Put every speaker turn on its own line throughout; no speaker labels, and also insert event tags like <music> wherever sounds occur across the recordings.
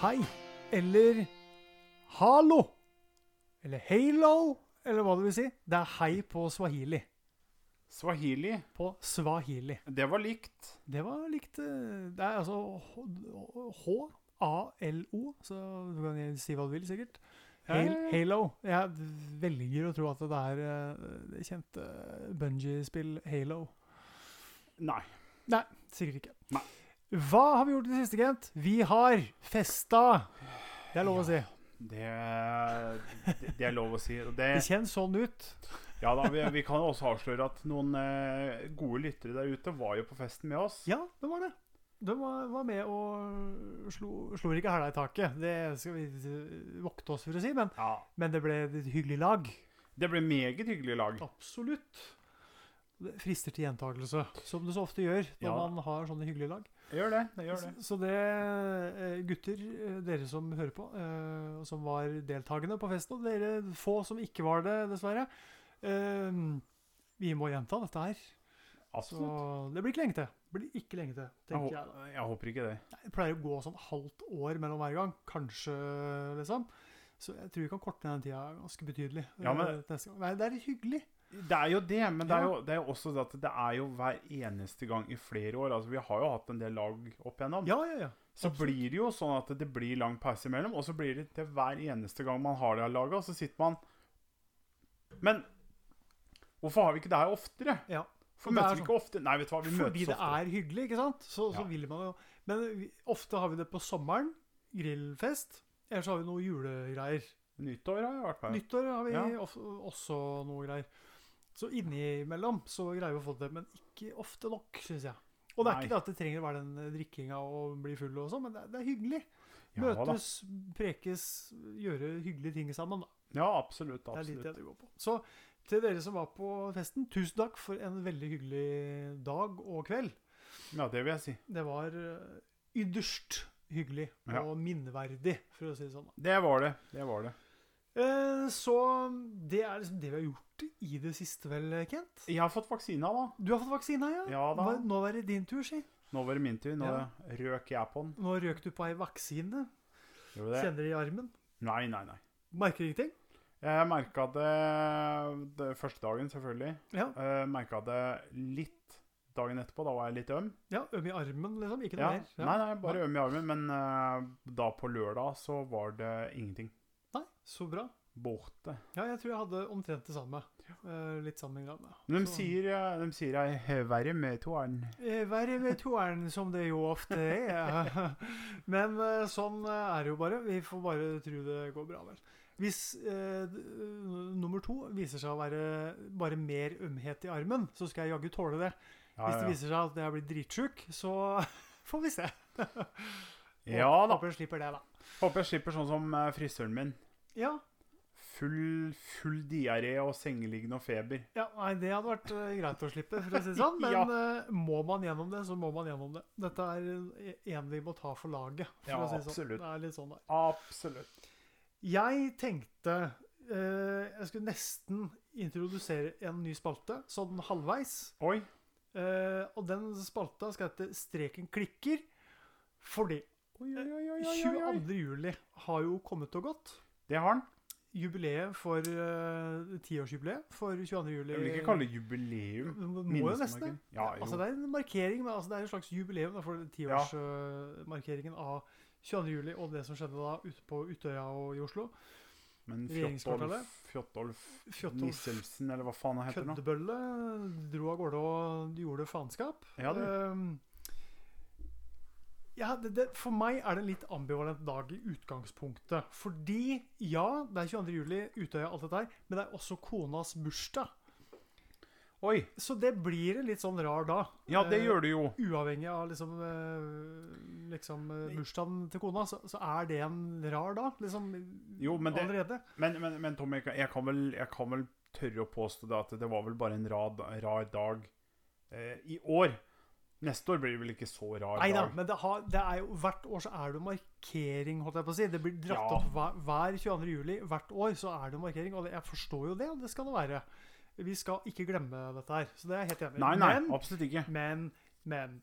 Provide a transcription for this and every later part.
hei eller hallo. Eller halo, eller hva det vil si. Det er hei på swahili.
Swahili,
På swahili.
det var likt.
Det var likt eh, Det er altså H- H-A-L-O, så du kan gjerne si hva du vil, sikkert. Hal
Ja, ja, ja.
Halo. Jeg velger å tro at det er eh, det kjente Bungie-spill Halo.
Nei.
Nei, sikkert ikke.
Nei.
Hva har vi gjort i det siste, Kent? Vi har festa! Det er lov å si.
Det, det, det er lov å si. Og det,
<laughs> Det kjennes sånn ut.
ja da, vi, vi kan også avsløre at noen eh, gode lyttere der ute var jo på festen med oss.
Ja, det var det. De var, var med og slo, slo ikke hæla i taket. Det skal vi eh, vokte oss for å si, men,
Ja.
men det ble et hyggelig lag.
Det ble meget hyggelig lag.
Absolutt. Det frister til gjentakelse, som det så ofte gjør når
Ja.
man har sånne hyggelige lag.
Gjør det. det gjør det.
Så det, eh, gutter, eh, dere som hører på, eh, og som var deltakende på festen, og dere få som ikke var det, dessverre eh, Vi må gjenta dette her. Så
Absolutt.
det blir ikke lenge til. Det blir ikke lenge til,
Altså, Jeg,
tenker jeg. da.
hå- jeg håper ikke det.
Jeg pleier å gå sånn halvt år mellom hver gang. Kanskje, liksom. Så jeg tror vi kan korte ned den tida ganske betydelig.
Ja, men-
eh, neste gang. Nei, det er hyggelig.
Det er jo det, men det er
Ja.
jo, det er jo også det at det er jo hver eneste gang i flere år. Altså, vi har jo hatt en del lag opp igjennom.
Ja, ja, ja.
Så blir det jo sånn at det blir lang pause imellom, og så blir det til hver eneste gang man har det her laget, og så sitter man Men hvorfor har vi ikke det her oftere?
Ja. Det er
Hvorfor
sånn-
møtes vi ikke ofte? Nei, vet du hva, vi
Fordi
møtes
det
ofte.
er hyggelig, ikke sant? Så, så
Ja.
vil man jo Men vi, ofte har vi det på sommeren. Grillfest. Eller så har vi noe julegreier.
Nyttår har jeg vært med.
Nyttår har vi
Ja.
of, også noe greier. Så innimellom så greier vi å få det til, men ikke ofte nok, syns jeg. Og det er
Nei.
ikke det at det trenger å være den eh, drikkinga og bli full og sånn, men det er, det er hyggelig.
Ja, da.
Møtes, prekes, gjøre hyggelige ting sammen. Da.
ja, absolutt.
Det er litt det
absolutt.
det går på. Så til dere som var på festen, tusen takk for en veldig hyggelig dag og kveld.
Ja, det vil jeg si.
Det var eh, ytterst hyggelig
Ja.
og minneverdig, for å si det sånn. da.
Det var det. Det var det.
Eh, Så det er liksom det vi har gjort i det siste, vel, Kent?
Jeg har fått vaksina, da.
Du har fått vaksina, ja?
Ja da.
Hva- Nå er det din tur, si.
Nå var det min tur. Nå
Ja.
røk jeg på den.
Nå røk du på ei vaksine.
Gjorde det?
Kjenner det i armen.
Nei, nei, nei.
Merker ingenting.
Jeg merka det, det første dagen, selvfølgelig.
Ja,
Uh, merka det litt dagen etterpå. Da var jeg litt øm.
ja Øm i armen, liksom. Ikke
Ja.
noe mer. Ja.
Nei, nei, bare øm i armen. Men eh, da på lørdag så var det ingenting.
Nei, Så bra.
Borte.
Ja, jeg tror jeg hadde omtrent det samme. Eh, Litt samme greiene.
Men de
Så-
sier, eh, de sier jeg er verre med toeren.
Eh, Verre med toeren, som det jo ofte er. <laughs> Men eh, sånn eh, er det jo bare. Vi får bare tro det går bra, vel. Hvis eh, d- eh, nummer to viser seg å være bare mer ømhet i armen, så skal jeg jaggu tåle det.
Ja,
Hvis det
ja.
viser seg at jeg blir dritsjuk, så <laughs> får vi se.
ja da.
Håper jeg slipper det, da.
Håper jeg slipper sånn som eh, frisøren min.
Ja,
Full, full diaré og sengeliggende og feber.
ja nei, det hadde vært eh, greit å slippe, for å si det
<laughs>
sånn. Men
Ja.
eh, må man gjennom det, så må man gjennom det. Dette er eh, en vi må ta for laget, for
Ja,
å si det sånn.
absolutt.
Det er litt sånn det er.
Absolutt.
Jeg tenkte eh, Jeg skulle nesten introdusere en ny spalte, sånn halvveis.
Oi.
Eh, og den spalta skal hete 'Streken klikker', fordi
Oi, oi, oi, oi,
Eh,
oi, oi.
22. juli har jo kommet og gått.
Det har han.
Jubileet for eh, Tiårsjubileet for 22. juli
Jeg vil ikke
Eh,
kalle det jubileum.
det Må jo nesten det.
Minnesmerken. Ja, jo.
Altså, det er en markering, men altså, det er en slags jubileum da, for tiårsmarkeringen av 22. juli og det som skjedde da ute på Utøya og i Oslo.
Men
Regjeringskvartalet.
Fjotolf, Fjotolf
Fjotolf
Nisselsen, eller hva faen han heter nå?
Køddebølle dro av gårde og gjorde faenskap.
Ja, du.
Ehm, ja, det, det, for meg er det en litt ambivalent dag i utgangspunktet. Fordi, ja, det er 22. juli, Utøya, alt dette her, men det er også konas bursdag.
Oi!
Så det blir en litt sånn rar dag.
Ja, det gjør du jo.
Uavhengig av liksom, eh, liksom eh, bursdagen til kona, så, så er det en rar dag. Liksom,
Jo, men det-
allerede.
Men, men, men Tom, jeg kan, jeg, kan vel, jeg kan vel tørre å påstå det at det var vel bare en rad, rar dag eh, i år. Neste år blir det vel ikke så rar
Nei da,
dag.
men det, har, det er jo, hvert år så er det jo markering, holdt jeg på å si. Det blir dratt
Ja.
opp hver, hver 22. juli. Hvert år så er det markering, og det, jeg forstår jo det, og det skal det være. Vi skal ikke glemme dette her, så det er jeg helt enig i.
Nei, nei,
Men,
absolutt ikke.
men, men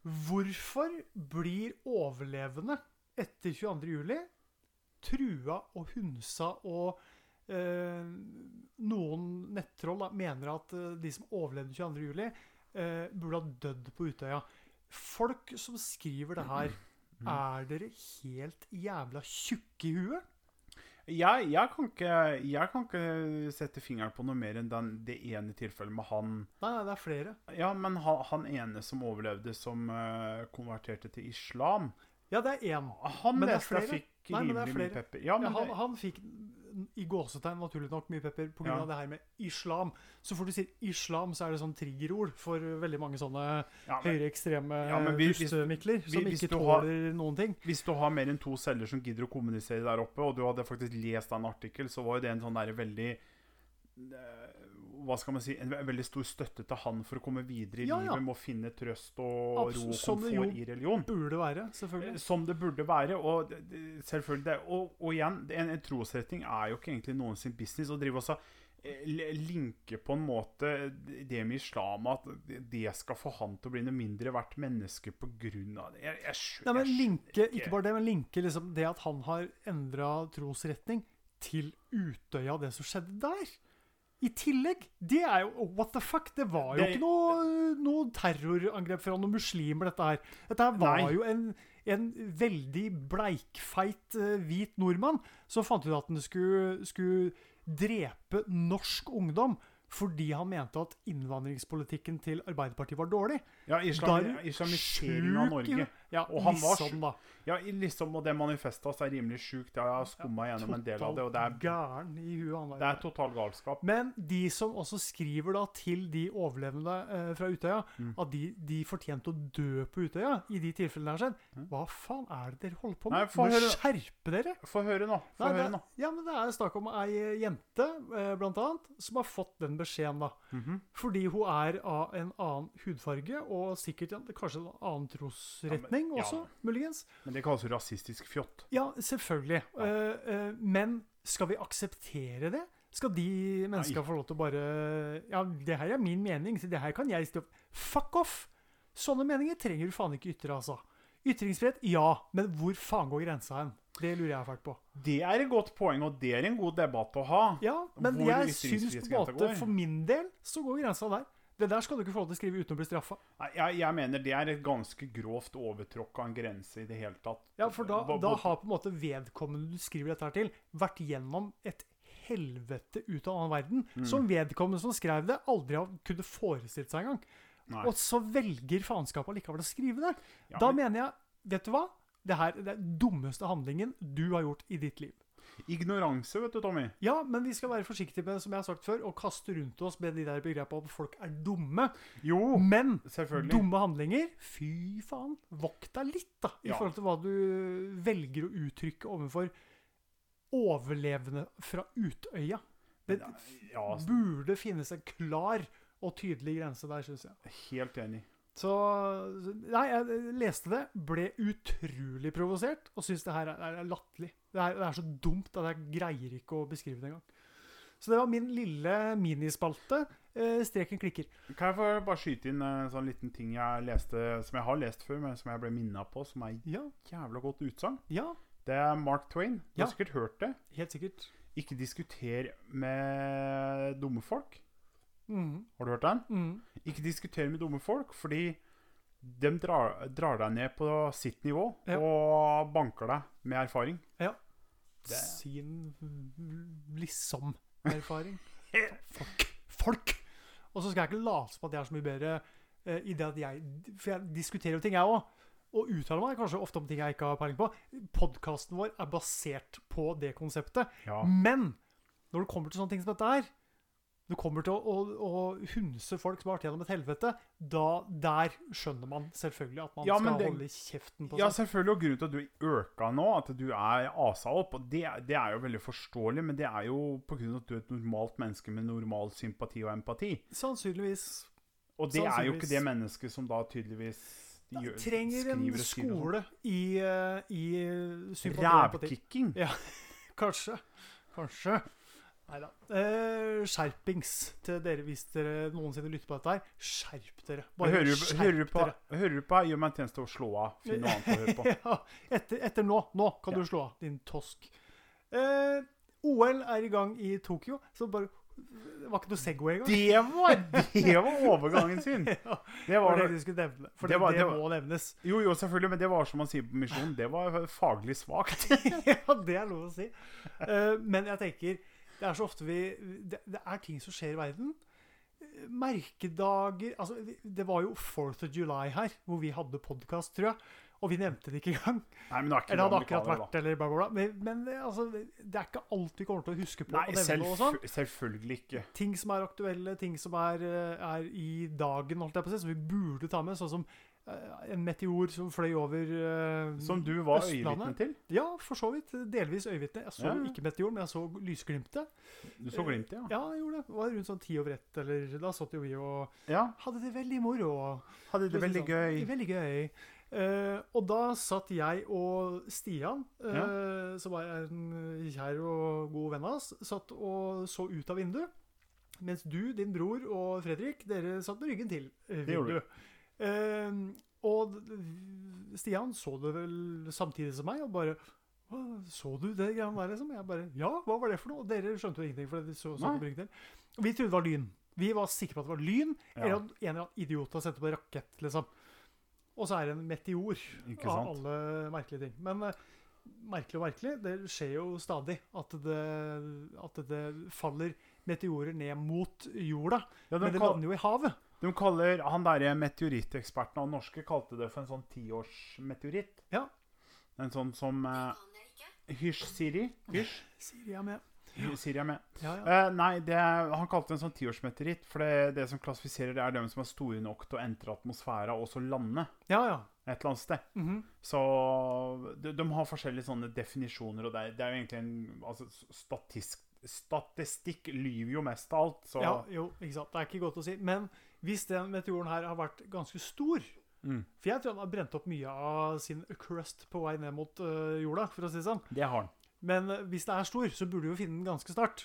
Hvorfor blir overlevende etter 22. juli trua og hunsa og eh, noen nettroll da, mener at eh, de som overlevde 22. juli, eh, burde ha dødd på Utøya. Folk som skriver det her, er dere helt jævla tjukke i huet?
Jeg, jeg, kan ikke, jeg kan ikke sette fingeren på noe mer enn den, det ene tilfellet med han
Nei, nei, det er flere.
Ja, men han, han ene som overlevde, som eh, konverterte til islam
Ja, det er én.
Han
Men det er
leste jeg
flere.
fikk
Nei, men det er
rimelig mye
flere.
pepper. Ja,
Ja,
men
han,
det,
han fikk i gåsetegn naturlig nok mye pepper pga.
Ja.
av det her med islam. Så fort du sier islam, så er det sånn triggerord for veldig mange sånne
ja, men,
høyreekstreme
Ja, men vi- hvis-
dustemikler
vi-
som
hvis
ikke
du har-
tåler noen ting.
hvis du har mer enn to celler som gidder å kommunisere der oppe, og du hadde faktisk lest en artikkel, så var jo det en sånn der veldig eh, Hva skal man si En ve- veldig stor støtte til han for å komme videre i
Ja, ja.
livet med å finne trøst og
Abs-
ro og
som det jo-
komfort i religion. Eh,
Burde det være, selvfølgelig.
Som det burde være. Og det- det- selvfølgelig det, og, og igjen, det- en, en trosretning er jo ikke egentlig noen sin business. Å drive også eh, li- linke på en måte det med islam at det skal få han til å bli noe mindre verdt menneske på grunn av det. Jeg, jeg, skjø-
Nei, men
jeg,
linke,
ikke.
ikke bare det, men linke liksom det at han har endra trosretning til Utøya, det som skjedde der. I tillegg. Det er jo What the fuck? Det var jo
Det-
ikke noe, noe terrorangrep fra noen muslimer, dette her. Dette her var
Nei.
jo en, en veldig bleikfeit eh, hvit nordmann som fant ut at han skulle, skulle drepe norsk ungdom fordi han mente at innvandringspolitikken til Arbeiderpartiet var dårlig.
ja, islam,
Darm-
islamisering av
sjuk i-
Norge.
Ja,
Og han var
liksom,
sjuk-
da.
Ja, i- liksom, og det manifestet hans er rimelig sjukt. Jeg har skumma gjennom en del av det, og det er,
Gæren i huet han
det
der.
er total galskap.
Men de som også skriver da til de overlevende eh, fra Utøya,
Mm.
at de, de fortjente å dø på Utøya, i de tilfellene det har skjedd
Mm.
Hva faen er det dere holder på
Nei,
med?
få
Må
høre-
skjerpe dere!
Få høre nå. Få
Nei,
høre
det,
nå.
ja, men det er snakk om ei eh, jente, eh, blant annet, som har fått den beskjeden, da.
Mhm.
Fordi hun er av en annen hudfarge, og sikkert en, kanskje en annen trosretning
Ja, men- ja.
også, muligens.
Men det kalles jo rasistisk fjott.
Ja, selvfølgelig. Eh, eh, men skal vi akseptere det? Skal de menneskene få lov til å bare Ja, det her er min mening, så det her kan jeg stå Fuck off! Sånne meninger trenger du faen ikke ytre, altså. Ytringsfrihet, ja, men hvor faen går grensa hen? Det lurer jeg fælt på.
Det er et godt poeng, og det er en god debatt å ha.
Ja, men
Hvor
jeg syns på en
ytringsfrihetsgrensa
måte,
går?
for min del, så går grensa der. Det der skal du ikke få lov til å skrive uten å bli straffa.
Nei, Jeg, jeg mener det er et ganske grovt overtråkk av en grense i det hele tatt.
Ja, for da,
Bo-
da
bo-
har på en måte vedkommende du skriver dette her til, vært gjennom et helvete ut av annen verden,
Mm.
som vedkommende som skrev det, aldri har kunnet forestilt seg engang.
Nei.
Og så velger faenskapet likevel å skrive det.
Ja,
da
men-
mener jeg Vet du hva? Det her det er den dummeste handlingen du har gjort i ditt liv.
Ignoranse, vet du, Tommy.
Ja, men vi skal være forsiktige med, som jeg har sagt før, å kaste rundt oss med de der begrepene at folk er dumme.
Jo,
Men
selvfølgelig.
Dumme handlinger. Fy faen. Vokt deg litt, da, i
Ja.
forhold til hva du velger å uttrykke overfor overlevende fra Utøya. Det
Ja, altså. s-
burde finnes en klar og tydelig grense der, syns jeg.
helt enig.
Så Nei, jeg leste det, ble utrolig provosert, og syns det her er, er latterlig. Det, er- det er så dumt at jeg greier ikke å beskrive det engang. Så det var min lille minispalte. Eh, streken klikker.
Kan jeg få bare skyte inn en sånn liten ting jeg leste, som jeg har lest før, men som jeg ble minnet på, som er
Ja.
jævla godt utsagn?
Ja,
Det er Mark Twain. Du
Ja.
har sikkert hørt det.
helt sikkert.
Ikke diskuter med dumme folk.
Mhm,
Har du hørt den?
mhm.
Ikke diskuter med dumme folk, fordi de drar, drar deg ned på sitt nivå
Ja.
og banker deg med erfaring. Det-
sin mm, liksom erfaring. Folk. Folk! Og så skal jeg ikke late som at jeg er så mye bedre eh, i det at jeg For jeg diskuterer jo ting, jeg òg. Og uttaler meg kanskje ofte om ting jeg ikke har peiling på. Podkasten vår er basert på det konseptet.
Ja.
Men når det kommer til sånne ting som dette her Du kommer til å, å, å hunse folk som har vært gjennom et helvete. Da, der skjønner man selvfølgelig at man
Ja, men
skal
det-
holde kjeften på
ja,
seg.
selvfølgelig. Og grunnen til at du øka nå, at du er asa opp, og det, det er jo veldig forståelig, men det er jo på grunn av at du er et normalt menneske med normal sympati og empati.
Sannsynligvis.
Og det er jo
Sannsynligvis.
ikke det mennesket som da tydeligvis gjør,
trenger en
skriver og skriver sånn.
skole i, eh, i sympati og empati.
Rævkikking!
Kanskje. Kanskje. Neida. Eh, skjerpings til dere hvis dere noensinne lytter på dette her. Skjerp dere.
hører, du, hører, du på, hører du på, gjør meg en tjeneste og slå av. Finn noe annet å høre på.
<laughs> ja, etter, etter nå. Nå kan
Ja.
du slå av, din tosk. Eh, OL er i gang i Tokyo, så bare Det var ikke noe Segway engang.
Det var, det var overgangen sin!
Ja,
Det
<laughs> det var
var,
det du skulle nevne. For
Det
det,
var-
det,
det var-
må nevnes.
jo, jo, selvfølgelig, men det var som man sier på Misjon, det var faglig svakt.
<laughs> ja, det er lov å si. Eh, men jeg tenker Det er så ofte vi det, det er ting som skjer i verden. Eh, Merkedager altså, vi- Det var jo 4th of July her, hvor vi hadde podkast, tror jeg. Og vi nevnte det ikke
<laughs>
engang.
Nei, men det er ikke
Eller hadde
noe
akkurat
amerikaner, da.
vært eh, eller bla, bla, bla. Men, men eh, altså, det er ikke alt vi kommer til å huske på.
Nei,
og nevne og sånn.
selvf selvfølgelig ikke.
Ting som er aktuelle, ting som er, eh, er i dagen, holdt jeg på å si, som vi burde ta med. Sånn som eh, en meteor som fløy over eh,
Som du var
Østlandet?
øyevitne til.
ja, for så vidt. Delvis øyevitne. Jeg så
Ja.
ikke meteoren, men jeg så lysglimtet.
Du så glimtet, ja.
Ja, jeg gjorde det. Det var rundt sånn ti over ett, eller da satt jo vi og
ja.
hadde det veldig moro.
Hadde det veldig gøy.
Veldig gøy. Eh, og da satt jeg og Stian, eh, som var en kjær og god venn av oss, satt og så ut av vinduet. Mens du, din bror og Fredrik, dere satt med ryggen til eh,
Det gjorde vi.
vinduet. Eh, og d- Stian så det vel samtidig som meg, og bare «Hva, Så du det greiene der, liksom? Jeg bare Ja, hva var det for noe? Og dere skjønte jo ingenting. for dere så, så
Nei.
på ryggen til. Og Vi trodde det var lyn. Vi var sikre på at det var lyn,
Ja.
eller at en eller annen idiot har sendt opp en rakett, liksom. Og så er det en meteor
Ikke
av
sant?
alle merkelige ting. Men eh, merkelig og merkelig, det skjer jo stadig at det, at det faller meteorer ned mot jorda.
Ja, de,
Men det
kal
lander jo i havet.
de kaller han derre meteoritteksperten av norske kalte det for en sånn tiårsmeteoritt.
Ja.
En sånn som eh, Hysj, Siri. Hysj.
Sier jeg med.
Siri er med.
Ja, ja.
Eh, nei, det, er- han kalte det en sånn tiårsmeteoritt. For det, det som klassifiserer det, er dem som er store nok til å entre atmosfæra og så lande
ja, ja.
et eller annet sted.
Mhm.
Så de, de har forskjellige sånne definisjoner, og det er, det er jo egentlig en altså, statisk, Statistikk lyver jo mest av alt, så
ja, jo, ikke sant. Det er ikke godt å si. Men hvis den meteoren her har vært ganske stor
Mm.
For jeg tror han har brent opp mye av sin crust på vei ned mot øh, jorda, for å si det sånn.
det har han.
Men øh, hvis den er stor, så burde du jo finne den ganske snart.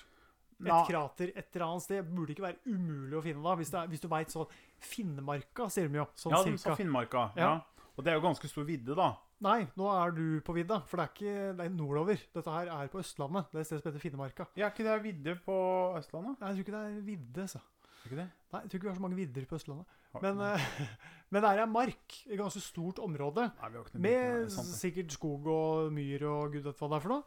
Et
Nei.
krater et eller annet sted burde ikke være umulig å finne da, hvis, det er, hvis du veit sånn Finnemarka, sier de jo. Sånn
Ja, de sa
cirka.
Finnmarka. Ja.
Ja.
Og det er jo ganske stor vidde, da.
Nei, nå er du på vidda, for det er ikke det er nordover. Dette her er på Østlandet. Det er et sted som heter Finnemarka.
Ja, er ikke det vidde på Østlandet?
Nei, jeg tror ikke det er vidde, så.
Er ikke det?
Nei, jeg tror ikke vi har så mange vidder på Østlandet.
Har-
Men,
Nei,
eh, <laughs> men det er en mark, et ganske stort område,
vi har ikke noe vidde, nei,
med
det sånn er sant, det.
sikkert skog og myr og gud vet hva det er for noe.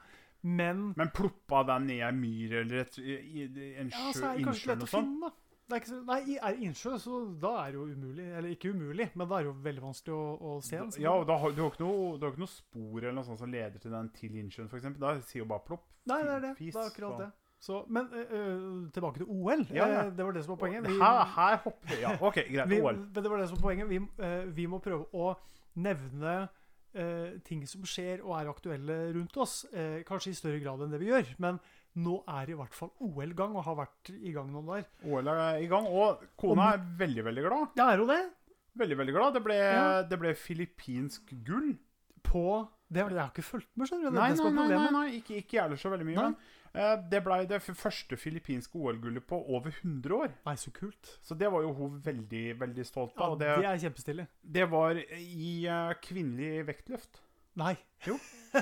Men
Men ploppa den ned i en myr eller et, i, i, en
ja,
sjø, sånn.
så er det kanskje lett
innsjø eller
å
noe sånt?
finne, da. Det er ikke så, nei, i- er det innsjø, så da er det jo umulig. Eller ikke umulig, men da er det jo veldig vanskelig å, å se den.
Ja, og da har, du, har ikke noe, du har ikke noe spor eller noe sånt som leder til den til innsjøen, f.eks. Da sier jo bare plopp.
Nei, det er det.
Fis,
Det er akkurat
faen.
det. Så, men eh, eh, tilbake til OL.
Ja, ja.
Eh, det var det som var poenget. Vi-
Her, her hopper Ja, OK, greit.
vi,
OL.
men det var det som var poenget. Vi, eh, vi må prøve å nevne eh, ting som skjer og er aktuelle rundt oss. eh, kanskje i større grad enn det vi gjør. Men nå er i hvert fall OL-gang, og har vært i gang noen dager.
OL er i gang, og kona er veldig, veldig glad.
Det er jo det.
Veldig, veldig glad. Det ble,
Ja.
det ble filippinsk gull.
På det, har- jeg har ikke fulgt med, skjønner du. Det er
Nei,
det som
nei,
er
nei, nei,
problemet.
nei. Ikke, ikke jeg heller så veldig mye.
Nei.
Men eh, det ble det f- første filippinske OL-gullet på over 100 år.
Nei, så kult.
Så det var jo hun veldig, veldig stolt
Ja,
av. og
det
det,
er kjempestille.
det var i eh, kvinnelig vektløft.
Nei.
Jo.
<laughs>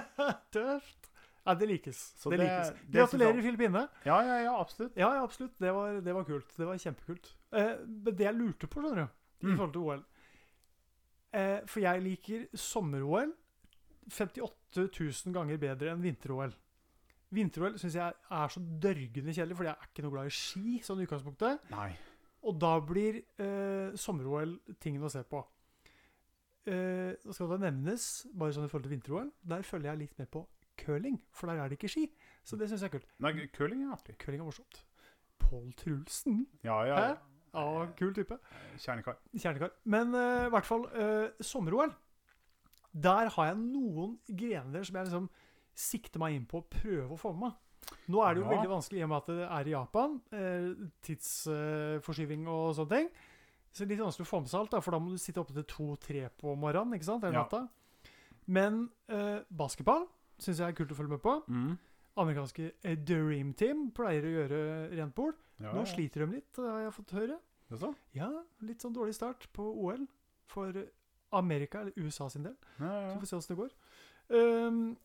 Tøft. Nei, det likes.
Så
det,
det-
likes.
det synes jeg-
Gratulerer, Filippinene.
Ja, ja, ja, absolutt.
Ja, ja, absolutt. Det var, det var kult. Det var kjempekult. Eh, men det jeg lurte på, skjønner du, i
Mm.
forhold til OL eh, For jeg liker sommer-OL 58 000 ganger bedre enn vinter-OL. Vinter-OL syns jeg er så dørgende kjedelig, fordi jeg er ikke noe glad i ski. sånn i utgangspunktet.
Nei.
Og da blir eh, sommer-OL tingen å se på. Eh, nå skal det nevnes, bare sånn i forhold til vinter-OL, der følger jeg litt med på curling. For der er det ikke ski. Så det syns jeg er kult.
Nei, curling er artig.
Curling er morsomt. Pål Trulsen.
Ja, ja.
Hæ? Ja, kul type.
Kjernekar.
Kjernekar. Men eh, i hvert fall eh, sommer-OL. Der har jeg noen grener som jeg liksom sikter meg inn på å prøve å få med meg. Nå er det jo
Ja.
veldig vanskelig i og med at det er i Japan. Eh, Tidsforskyving og sånne ting. Så litt vanskelig å få med seg alt, da, for da må du sitte oppe til to-tre på morgenen. ikke sant? Eller
Ja.
natta. Men eh, basketball syns jeg er kult å følge med på. amerikanske eh, Dream Team pleier å gjøre rent bord.
Ja,
Nå
ja.
sliter de litt, har jeg fått høre.
Jaså?
Ja, litt sånn dårlig start på OL for Amerika, eller USA sin del.
Ja, ja,
Så
ja.
får vi se åssen det går. Ehm,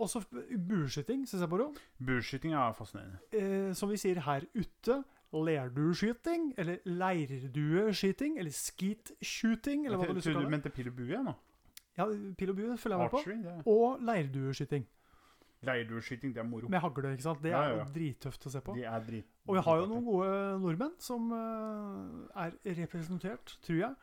også bueskyting syns jeg er moro.
Bueskyting er fascinerende.
Eh, som vi sier her ute, lerdueskyting, eller leirdueskyting, eller skeet-shooting, eller hva du har
Jeg
lyst til å kalle
trodde du
det.
mente pil og bue? jeg, nå.
Ja, pil og bue følger jeg med på.
Archery? det er-
Og leirdueskyting
Leirdueskyting, det er moro.
med hagle, ikke sant. Det
Ja,
er
ja,
jo
ja.
drittøft å se på.
De er drit...
Og vi har jo noen gode nordmenn som eh, er representert, tror jeg.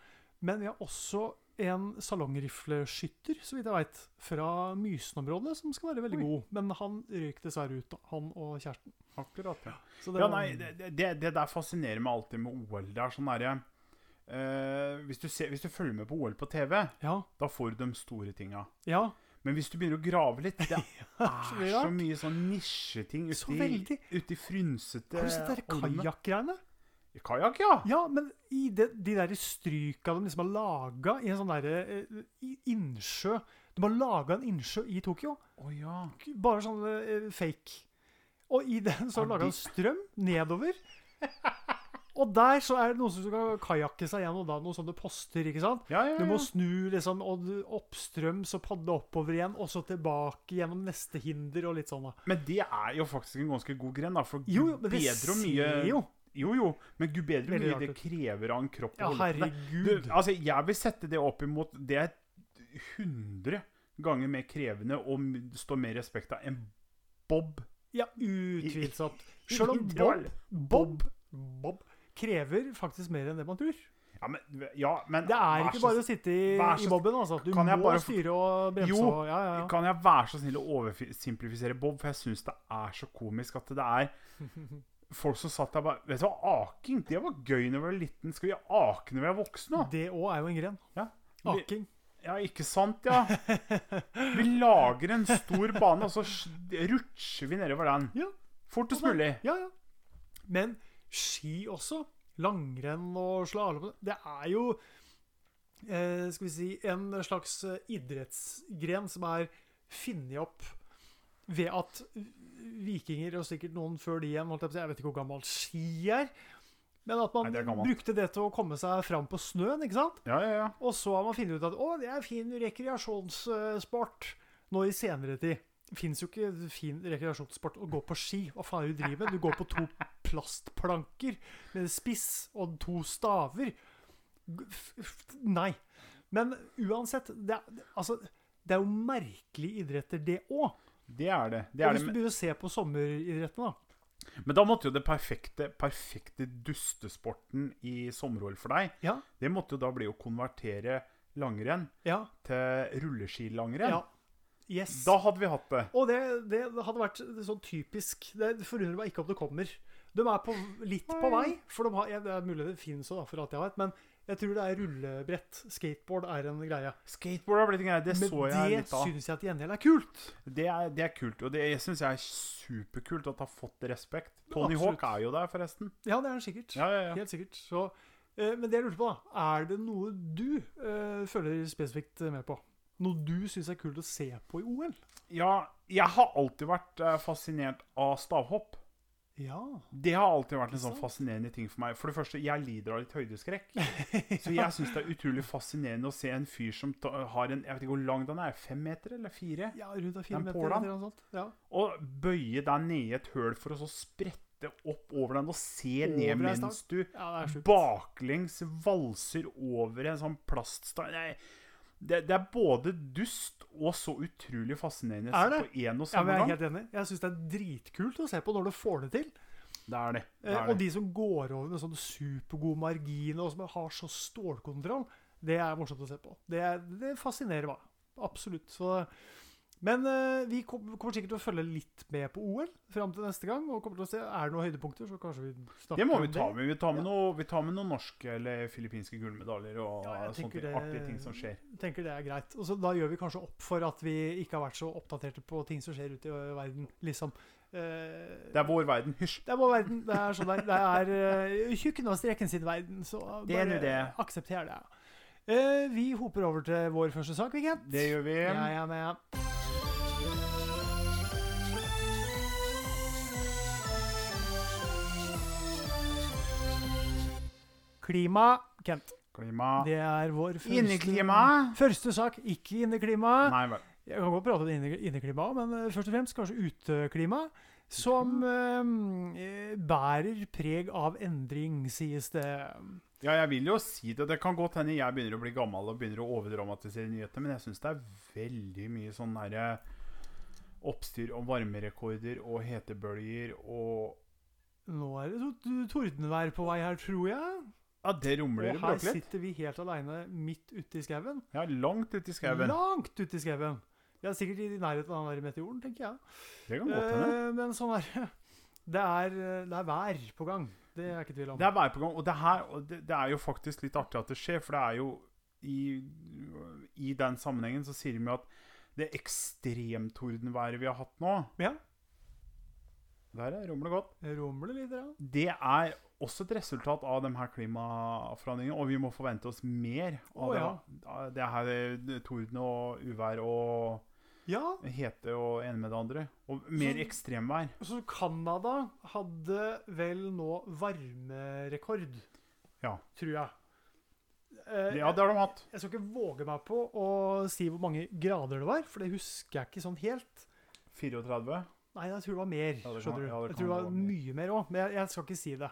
Men vi har også en salongrifleskytter, så vidt jeg veit, fra Mysen-området, som skal være veldig
Oi.
god. Men han røyk dessverre ut, da. Han og kjæresten.
Akkurat, ja.
Så
Ja,
var-
nei, det, det, det der fascinerer meg alltid med OL. Det er sånn derre eh, hvis, du ser- hvis du følger med på OL på TV,
ja,
da får du de store tinga.
ja, <laughs>
Men hvis du begynner å grave litt Det
så
er
mye
så
rart.
mye sånn nisjeting
så
uti,
veldig.
uti frynsete
Har du sett de der
holmer.
kajakkgreiene?
Kajakk, ja!
Ja, men i det, de der stryka de liksom har laga i en sånn derre eh, i- innsjø De har laga en innsjø i Tokyo.
Å ja.
bare sånn eh, fake. Og i den så har
Har
du laga
de-
en strøm
<laughs>
nedover. Og der så er det noen som skal kajakke seg gjennom da, noen sånne poster. ikke sant?
Ja, ja,
Du må
ja.
snu liksom, og du- oppstrøms og padle oppover igjen, og så tilbake gjennom neste hinder og litt sånn. da.
Men det er jo faktisk en ganske god gren, da. For
Jo, jo,
gud
men det
bedre og mye
ser jo
Jo, jo. Men gud bedre hvor
Veldig
mye
rart
det
ut.
krever av en kropp. å
Ja,
holde på med.
herregud.
Du, altså, jeg vil sette det opp imot Det er 100 ganger mer krevende og m- står mer respekt av enn Bob.
Ja, utvilsomt. Sjøl om Bob, Bob, Bob krever faktisk mer enn det man tror.
Ja, men, ja, men
Det er
vær
ikke
så
bare å sitte i,
vær så
i boben. altså. Du
Kan jeg
må
bare få-
styre og bremse.
Jo,
og, ja, ja, ja.
Kan jeg være så snill å oversimplifisere Bob, for jeg syns det er så komisk at det
<laughs>
er folk som satt der bare Vet du hva, aking, det var gøy når vi var liten. Skal vi ake når vi er voksne, da?
Det òg er jo en gren.
Ja.
Aking.
Ja, ikke sant,
<laughs>
ja. Vi lager en stor bane, og så sj- rutsjer vi nedover den.
Ja.
Fortest mulig.
Ja, ja. Men ski også. Langrenn og slalåm. Det er jo eh, skal vi si, en slags eh, idrettsgren som er funnet opp ved at vikinger, og sikkert noen før de igjen, holdt jeg, på å si, jeg vet ikke hvor gammel ski er, men at man
Nei, det er gammelt.
brukte det til å komme seg fram på snøen, ikke sant?
Ja, ja, ja.
Og så har man funnet ut at å, det er fin rekreasjonssport nå i senere tid. Fins jo ikke fin rekreasjonssport å gå på ski. Hva faen er det du driver med? Du går på to plastplanker med spiss og to staver. G- f- f- Nei. Men uansett, det er, altså, det er jo merkelige idretter, det òg.
Det er det. det, er
Hvis
det.
du
Men,
begynner å se på sommeridrettene, da.
men da måtte jo det perfekte, perfekte dustesporten i sommer-OL for deg,
Ja.
det måtte jo da bli å konvertere langrenn
Ja.
til rulleskilangrenn.
ja. Yes.
Da hadde vi hatt det.
Og det, det hadde vært sånn typisk Det forundrer meg ikke om det kommer. De er på, litt på vei, for de har, ja, det er mulig det finnes òg, for alt jeg vet. Men jeg tror det er rullebrett. Skateboard er en greie.
Skateboard har blitt en greie. Det
Men
så jeg
det
litt av.
syns jeg til gjengjeld er kult.
Det er, det er kult. Og det syns jeg er superkult at det har fått respekt. Tony
Absolutt.
Hawk er jo der, forresten.
Ja, det er det sikkert.
Ja, ja, ja.
Helt sikkert. Så, eh, men det jeg lurte på, da. Er det noe du eh, følger spesifikt eh, med på? Noe du syns er kult å se på i OL?
Ja, jeg har alltid vært eh, fascinert av stavhopp.
<laughs> Ja.
Det har alltid vært en sånn
Sant.
fascinerende ting for meg. For det første, jeg lider av litt høydeskrekk. Så jeg syns det er utrolig fascinerende å se en fyr som ta, har en Jeg vet ikke hvor lang den er. Fem meter eller fire?
ja rundt av
Den
fire meter
pålan.
eller noe sånt. Ja.
Og bøye deg ned i et høl for å så sprette opp over den og se
Over en
ned mens du
ja, det er sjukt.
baklengs valser over en sånn plaststang Nei, det, det er både dust og så utrolig fascinerende å
Er
se
det?
på én
Ja,
og
men
samme
jeg er
gang.
helt enig. Jeg syns det er dritkult å se på når du får det til.
Det er det. det,
Eh,
er
og
det.
de som går over med sånne supergode marginer, og som har så stålkontroll, det er morsomt å se på. Det, er- det fascinerer meg. Absolutt. Så, men eh, vi kom, kommer sikkert til å følge litt med på OL fram til neste gang. og kommer til å se, Er det noen høydepunkter, så kanskje vi snakker
Det må
om
vi ta med. Vi tar med,
Ja.
noe, vi tar med noen norske eller filippinske gullmedaljer og
Ja, jeg
sånne
tenker eh,
ting,
det-
artige ting som skjer.
Tenker det er greit. Og så Da gjør vi kanskje opp for at vi ikke har vært så oppdaterte på ting som skjer ute i ø, verden, liksom. Eh,
Det er vår verden. Hysj.
Det er vår verden. Det er sånn der. Det er eh, tjukken og streken sin verden. Så
Det er
bare
nå det.
aksepter det. Eh, vi hoper over til vår første sak, ikke sant?
Det gjør vi.
Ja, ja, ja. Klima, Kent.
Klima.
Det er vår første
Inneklima.
Første sak, ikke inneklima.
Nei vel.
Jeg kan godt prate om inne- inneklima, men eh, først og fremst kanskje uteklima. Som eh, bærer preg av endring, sies det.
Ja, jeg vil jo si det. Det kan godt hende jeg begynner å bli gammel og begynner å overdramatisere nyheter, men jeg syns det er veldig mye sånn derre oppstyr om varmerekorder og hetebølger og
Nå er det to- tordenvær på vei her, tror jeg.
Ja, det rumler i
Og her
bråklitt.
sitter vi helt aleine midt ute i skauen.
Ja, langt ute i skauen.
Langt ute i skauen. Jeg er sikkert i nærheten av den der meteoren, tenker jeg.
Det kan godt hende.
Eh, men sånn er det. Det er, eh, det er vær på gang. Det er jeg ikke i tvil om.
Det er værprogram, og det her og det, det er jo faktisk litt artig at det skjer, for det er jo i, i den sammenhengen så sier de jo at det ekstremtordenværet vi har hatt nå
Ja.
Der er rumler godt.
Det rumler litt. Ja.
Det er også et resultat av de her klimaforandringene, og vi må forvente oss mer av
Å, ja.
det, her- av det her torden og uvær og
ja,
hete og ene med det andre. Og mer
Så-
ekstremvær.
så Canada hadde vel nå varmerekord,
Ja.
tror jeg. Eh,
Ja, det har de hatt.
Jeg skal ikke våge meg på å si hvor mange grader det var, for det husker jeg ikke sånn helt.
34.
Nei, jeg tror det var mer.
Ja, det kan-
skjønner du.
ja, det
jeg
kan
tror det
være
var
mer.
mye mer òg, men jeg, jeg skal ikke si det.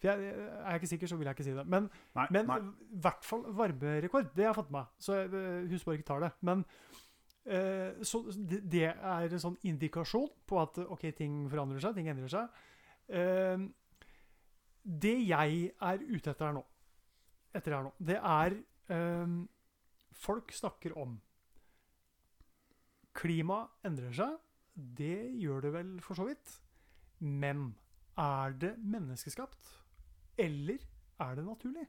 For jeg, jeg er ikke sikker, så vil jeg ikke si det. Men
Nei,
Men
nei.
i hvert fall varmerekord. Det har jeg fått med meg. Så jeg eh, husker bare ikke tar det. Men eh, så det det er en sånn indikasjon på at eh, ok, ting forandrer seg, ting endrer seg. Eh, det jeg er ute etter her nå, etter her nå, det er eh, Folk snakker om Klima endrer seg. Det gjør det vel for så vidt. Men er det menneskeskapt? Eller er det naturlig?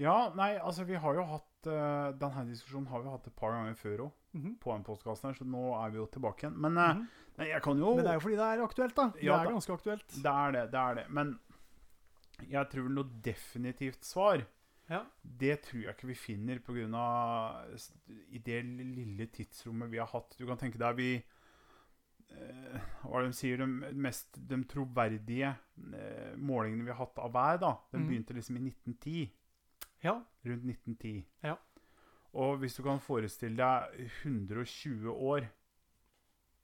Ja, nei, altså vi har jo hatt eh, Denne diskusjonen har vi hatt et par ganger før òg,
Mhm.
på den podkasten her, så nå er vi jo tilbake igjen. Men eh,
Mhm.
nei, jeg kan jo
Men det er jo fordi det er aktuelt, da. Det
Ja,
er
da.
ganske aktuelt.
Det er det, det er det. Men jeg tror noe definitivt svar
Ja.
Det tror jeg ikke vi finner pga. i det lille tidsrommet vi har hatt. Du kan tenke deg vi eh, Hva er det de sier? De, mest, de troverdige eh, målingene vi har hatt av vær, da, de
Mhm.
begynte liksom i 1910.
Ja.
Rundt 1910.
Ja.
Og hvis du kan forestille deg 120 år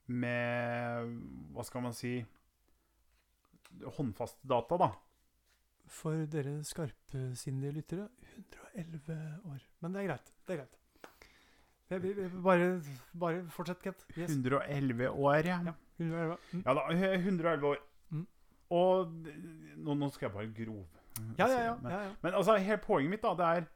med Hva skal man si Håndfaste data, da.
For dere skarpsindige lyttere 111 år. Men det er greit. Det er greit. Det er- Bare, bare fortsett, Kent. Yes.
111 år. Ja,
Ja. 111. Mm.
ja da. 111 år.
Mhm.
Og nå, nå skal jeg bare grov.
Ja, ja, ja.
Men-
ja, ja.
Men altså, hele poenget mitt da, det er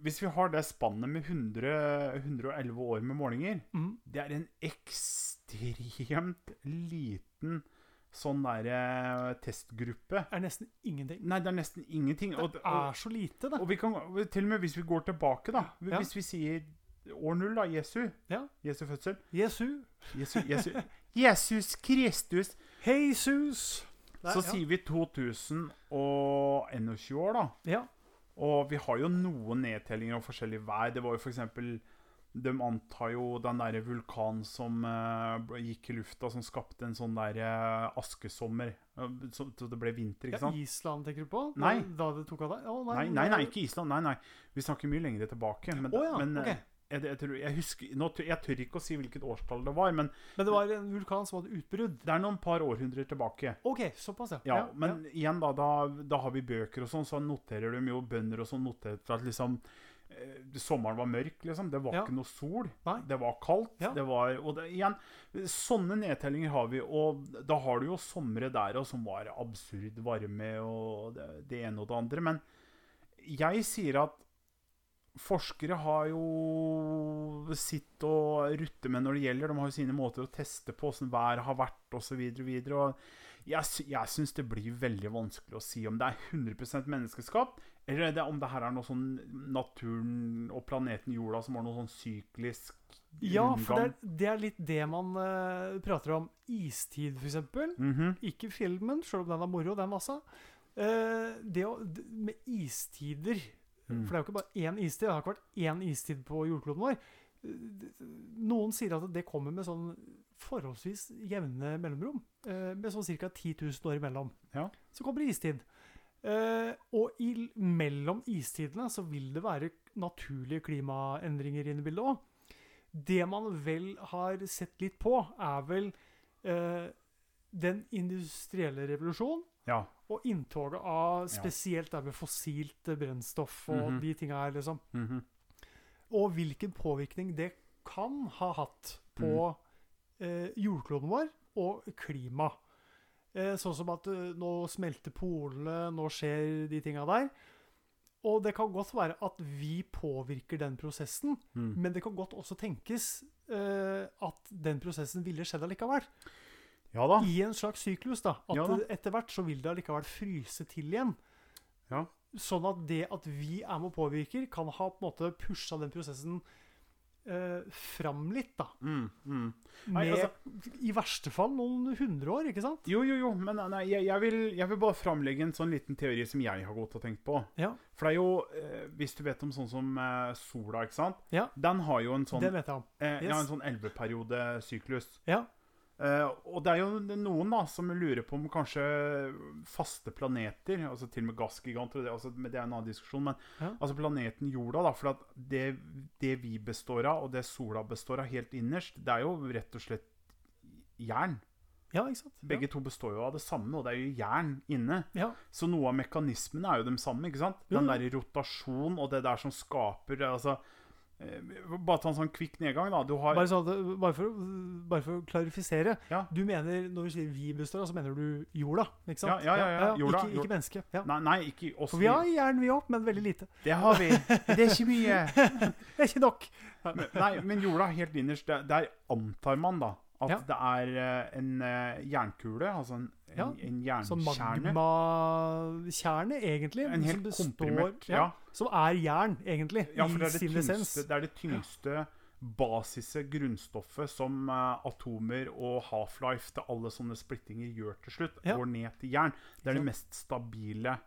Hvis vi har det spannet med 100, 111 år med målinger,
Mm.
det er en ekstremt liten sånn der eh, testgruppe.
Det er nesten ingenting.
Nei, det er nesten ingenting. Og,
Det
og,
er så lite, det.
og vi kan, til og med hvis vi går tilbake, da.
Ja.
Hvis vi sier år null, da. Jesu.
Ja.
Jesu fødsel.
Jesu.
Jesu, Jesu, Jesus Kristus.
Jesus. Det er-
Så
ja.
sier vi 2021 år, da.
Ja.
Og vi har jo noen nedtellinger om forskjellig vær. Det var jo f.eks. De antar jo den derre vulkanen som eh, ble- gikk i lufta, som skapte en sånn der eh, askesommer. eh, Så, så det ble vinter, ikke
ja.
sant?
Island tenker du på?
Nei.
Da det tok av deg? Å,
Nei, nei, nei, ikke Island. Nei, nei. Vi snakker mye lenger tilbake. Men,
Å ja,
men eh,
ok.
jeg, jeg, tror, jeg, husker, nå, tør- jeg tør ikke å si hvilket årstall det var, men
Men det var en vulkan som hadde utbrudd?
det er noen par århundrer tilbake.
OK, såpass, altså. ja.
Ja, men igjen da, da, da har vi bøker og sånn, så noterer de jo bønder og sånn notert at liksom eh, Sommeren var mørk, liksom. Det var
Ja.
ikke noe sol.
Nei.
Det var kaldt.
Ja.
Det var, og det, igjen, sånne nedtellinger har vi. Og da har du jo somre der og som var absurd varme og det, det ene og det andre. Men jeg sier at forskere har jo sitt å rutte med når det gjelder. De har jo sine måter å teste på åssen været har vært osv. Jeg, sy- jeg syns det blir veldig vanskelig å si om det er 100 menneskeskapt, eller det, om det her er noe sånn naturen og planeten jorda som har noe sånn syklisk
Ja, for det er, det er litt det man eh, prater om. Istid, for eksempel.
Mhm.
Ikke filmen, selv om den er moro, den masse. Eh, det å, d- med istider
Mm.
For det er jo ikke bare én istid. Det har ikke vært én istid på jordkloden vår. Eh, d- Noen sier at det kommer med sånn forholdsvis jevne mellomrom. eh, Med sånn ca. 10 000 år imellom.
Ja.
Så kommer det istid. Eh, og i, mellom istidene så vil det være naturlige klimaendringer inne i bildet òg. Det man vel har sett litt på, er vel eh, den industrielle revolusjonen
Ja.
og inntoget av
Ja.
spesielt det med fossilt eh, brennstoff og
Mhm.
de tinga her, liksom.
mhm.
Og hvilken påvirkning det kan ha hatt
Mhm.
på eh, jordkloden vår og klima. Eh, sånn som at eh, nå smelter polene, nå skjer de tinga der. Og det kan godt være at vi påvirker den prosessen,
Mm.
men det kan godt også tenkes eh, at den prosessen ville skjedd allikevel.
ja da.
I en slags syklus, da. At
Ah. Ja da.
det- etter hvert så vil det allikevel fryse til igjen.
Ja.
Sånn at det at vi er med og påvirker, kan ha på en måte pusha den prosessen eh, fram litt, da.
Mm, mm. Nei,
Med i verste fall noen hundre år, ikke sant?
Jo, jo, jo, men nei, jeg, jeg, vil, jeg vil bare framlegge en sånn liten teori som jeg har gått og tenkt på.
Ja.
For det er jo, eh, hvis du vet om sånn som eh, sola, ikke sant?
Ja.
Den har jo en sånn,
Det vet jeg om.
eh, ja,
yes.
en sånn elveperiodesyklus.
Ja.
Eh, og det er jo noen da, som lurer på om kanskje faste planeter, altså til og med gassgiganter, og det, altså, men det er en annen diskusjon, men
Ja.
altså planeten jorda da, for at det, det vi består av, og det sola består av helt innerst, det er jo rett og slett jern.
Ja, ikke sant?
Begge to består jo av det samme, og det er jo jern inne.
Ja.
Så noe av mekanismene er jo de samme, ikke sant?
Jo,
Den
jo.
der rotasjon og det der som skaper det, altså, eh, Bare ta en sånn kvikk nedgang, da. Du har
Bare, sånn, at det- bare, for, å- bare for å klarifisere.
Ja.
Du mener, Når du sier 'vi består', av, så mener du jorda, ikke sant?
Ja, ja, ja, ja. Jorda,
Ikke,
jorda.
ikke mennesket. Ja.
Nei, nei, ikke oss.
For vi har jern, vi opp, men veldig lite.
Det har vi. Det er ikke mye.
<laughs> Det er ikke nok.
Men- Nei, men jorda helt innerst, der, der antar man da at
Ja.
det er eh, en eh, jernkule, altså en, en,
Ja,
en
Sånn
jernkjerne.
magmakjerne, egentlig.
En helt
som består-
komprimert
ja,
ja.
Som er jern, egentlig.
Ja, for
I
det er det
sin essens.
tyngste, det, er det tyngste basiset, grunnstoffet, som eh, atomer og half-life til alle sånne splittinger gjør til slutt,
Ja.
går ned til jern. Det
Ikke
er det mest stabile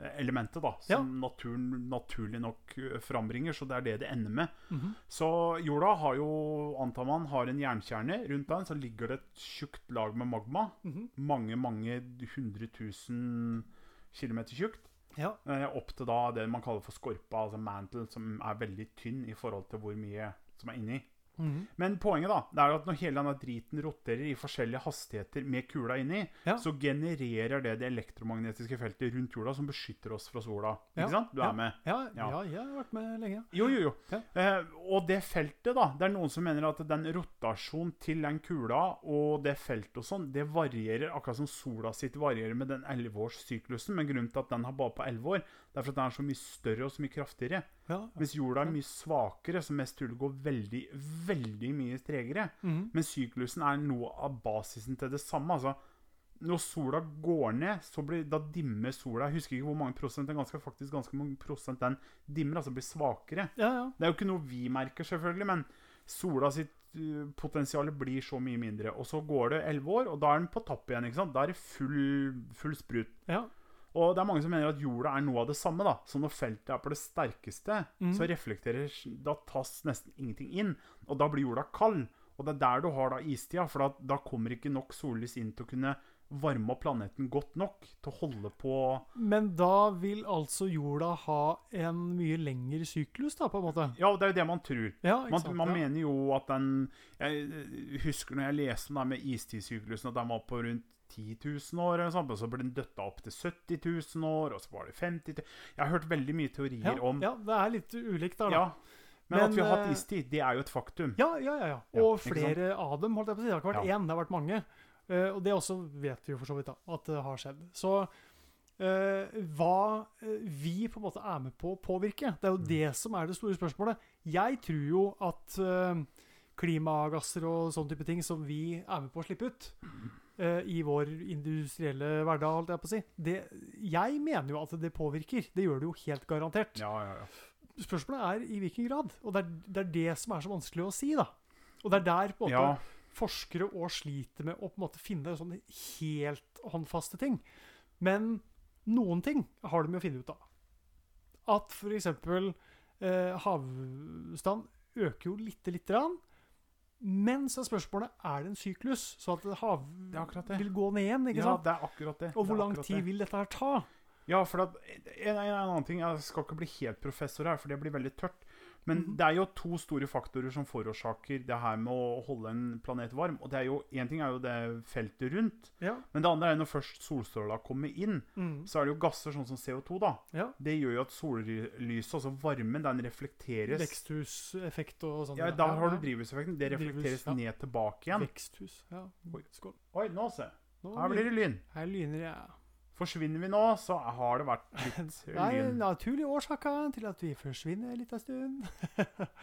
eh, elementet da, som naturen naturlig nok eh, frambringer, så det er det det ender med.
Mhm.
Så jorda har jo, antar man, har en jernkjerne. Rundt den så ligger det et tjukt lag med magma.
Mhm.
Mange, mange hundre tusen kilometer tjukt.
Ja.
Eh, opp til da det man kaller for skorpa, altså mantle, som er veldig tynn i forhold til hvor mye som er inni.
Mhm.
Men poenget da, det er jo at når hele denne driten roterer i forskjellige hastigheter med kula inni,
Ja.
så genererer det det elektromagnetiske feltet rundt jorda som beskytter oss fra sola.
Ja,
Ikke sant? Du er
ja.
med.
ja, ja.
Ja.
jeg har vært med lenge.
Jo, jo, jo.
Ja.
Eh, og det feltet, da. Det er noen som mener at den rotasjonen til den kula og det feltet og sånn, det varierer akkurat som sola sitt varierer med den elleveårssyklusen. Men grunnen til at den har bare på elleve år, det er for at den er så mye større og så mye kraftigere.
Ja.
Mens jorda er mye svakere, så mest trolig går veldig, veldig mye tregere.
Mhm.
Men syklusen er noe av basisen til det samme. altså. Når sola går ned, så blir, da dimmer sola. Jeg husker ikke hvor mange prosent, den ganske, faktisk ganske mange prosent den dimmer, altså blir svakere.
ja, ja.
Det er jo ikke noe vi merker, selvfølgelig, men sola sitt potensial blir så mye mindre. Og så går det 11 år, og da er den på tapp igjen. ikke sant? Da er det full, full sprut.
Ja.
Og det er mange som mener at jorda er noe av det samme. da. Så når feltet er på det sterkeste,
Mhm.
så reflekterer Da tas nesten ingenting inn, og da blir jorda kald. Og det er der du har da istida, for da, da kommer ikke nok sollys inn til å kunne varme opp planeten godt nok til å holde på
Men da vil altså jorda ha en mye lengre syklus, da, på en måte.
Ja, og det er jo det man tror.
Ja, ikke
Man,
sant?
man
ja.
mener jo at den Jeg eh, husker når jeg leste om det her med istidssyklusen, at den var på rundt 10 000 år, eller noe sånt, og så ble den døtta opp til 70 000 år, og så var det 50 000 Jeg har hørt veldig mye teorier
ja,
om
ja, det er litt ulikt der, da.
Ja. Men,
Men,
at vi har hatt
eh,
istid, det er jo et faktum.
Ja, ja, ja. ja.
Mm. Ja,
Og
ikke sant?
flere av dem, holdt jeg på å si. Det har ikke vært
Ja.
én, det har vært mange. Eh, og det også vet vi jo for så vidt da, at det har skjedd. Så eh, hva eh, vi på en måte er med på å påvirke, det er jo
Mm.
det som er det store spørsmålet. Jeg tror jo at eh, klimagasser og sånne type ting som vi er med på å slippe ut eh, i vår industrielle hverdag, holdt jeg på å si, det, jeg mener jo at det påvirker. Det gjør det jo helt garantert.
Ja, ja, ja.
Spørsmålet er i hvilken grad. Og det er det, er det som er så vanskelig å si, da. Og det er der på en måte
ja.
forskere òg sliter med å på en måte finne sånne helt håndfaste ting. Men noen ting har de jo funnet ut av. At f.eks. Eh, havstand øker jo lite lite grann. Men så er spørsmålet er det en syklus, så at hav
Det er akkurat det.
vil gå ned igjen. ikke
ja,
sant?
det er akkurat det.
Og hvor
Det er
lang
akkurat
tid
det.
vil dette her ta?
Ja, for at, en, en, en annen ting, Jeg skal ikke bli helt professor her, for det blir veldig tørt. Men det er jo to store faktorer som forårsaker det her med å holde en planet varm. og det er jo, Én ting er jo det feltet rundt,
Ja.
men det andre er når først solstråla kommer inn,
Mm.
så er det jo gasser sånn som CO2. da.
ja.
Det gjør jo at sollyset, altså varmen, den reflekteres
Veksthuseffekt og sånn.
Ja, Da har du drivhuseffekten. Det
Drivhus,
reflekteres
ja.
ned tilbake igjen.
Veksthus. Ja.
Oi.
Skål.
Oi, nå se.
Nå
Her blir det lyn.
Her lyner jeg.
Forsvinner vi nå, så har det vært litt
<laughs> Det er
lyn.
naturlige årsaker til at vi forsvinner litt av stund.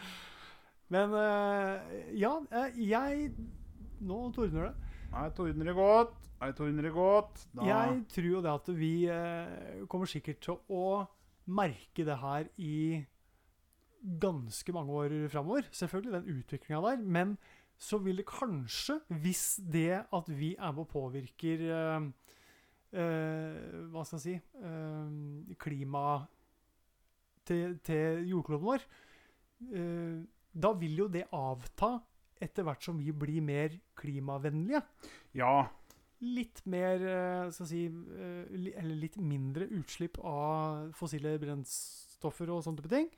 <laughs> Men eh, ja, eh, jeg Nå tordner det.
Nei, tordner det godt. Nei, tordner det godt. Da
Jeg tror jo det at vi eh, kommer sikkert til å merke det her i ganske mange år framover. Selvfølgelig den utviklinga der. Men så vil det kanskje, hvis det at vi er med og påvirker eh, eh, Hva skal jeg si eh, Klimaet til, til jordkloden vår eh, Da vil jo det avta etter hvert som vi blir mer klimavennlige
Ja.
litt mer eh, skal jeg si, eh, li- eller litt mindre utslipp av fossile brennstoffer og sånne type ting.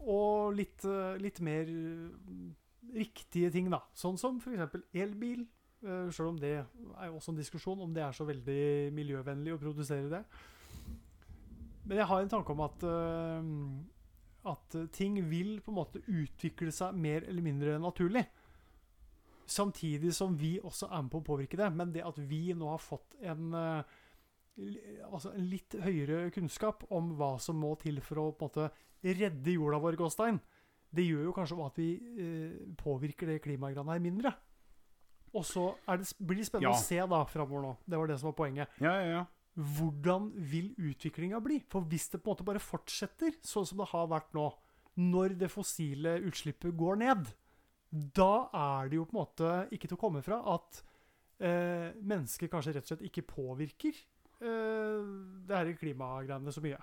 Og litt, eh, litt mer eh, riktige ting, da. Sånn som f.eks. elbil. eh, Selv om det er jo også en diskusjon om det er så veldig miljøvennlig å produsere det. Men jeg har en tanke om at, eh, at ting vil på en måte utvikle seg mer eller mindre naturlig. Samtidig som vi også er med på å påvirke det. Men det at vi nå har fått en, eh, li- altså en litt høyere kunnskap om hva som må til for å på en måte redde jorda vår, Gåstein, det gjør jo kanskje at vi eh, påvirker det klimagreiene her mindre. Og så er det, blir det spennende
Ja.
å se da framover nå. Det var det som var poenget.
Ja, ja, ja.
Hvordan vil utviklinga bli? For hvis det på en måte bare fortsetter sånn som det har vært nå, når det fossile utslippet går ned, da er det jo på en måte ikke til å komme fra at eh, mennesker kanskje rett og slett ikke påvirker eh, det her klimagreiene så mye.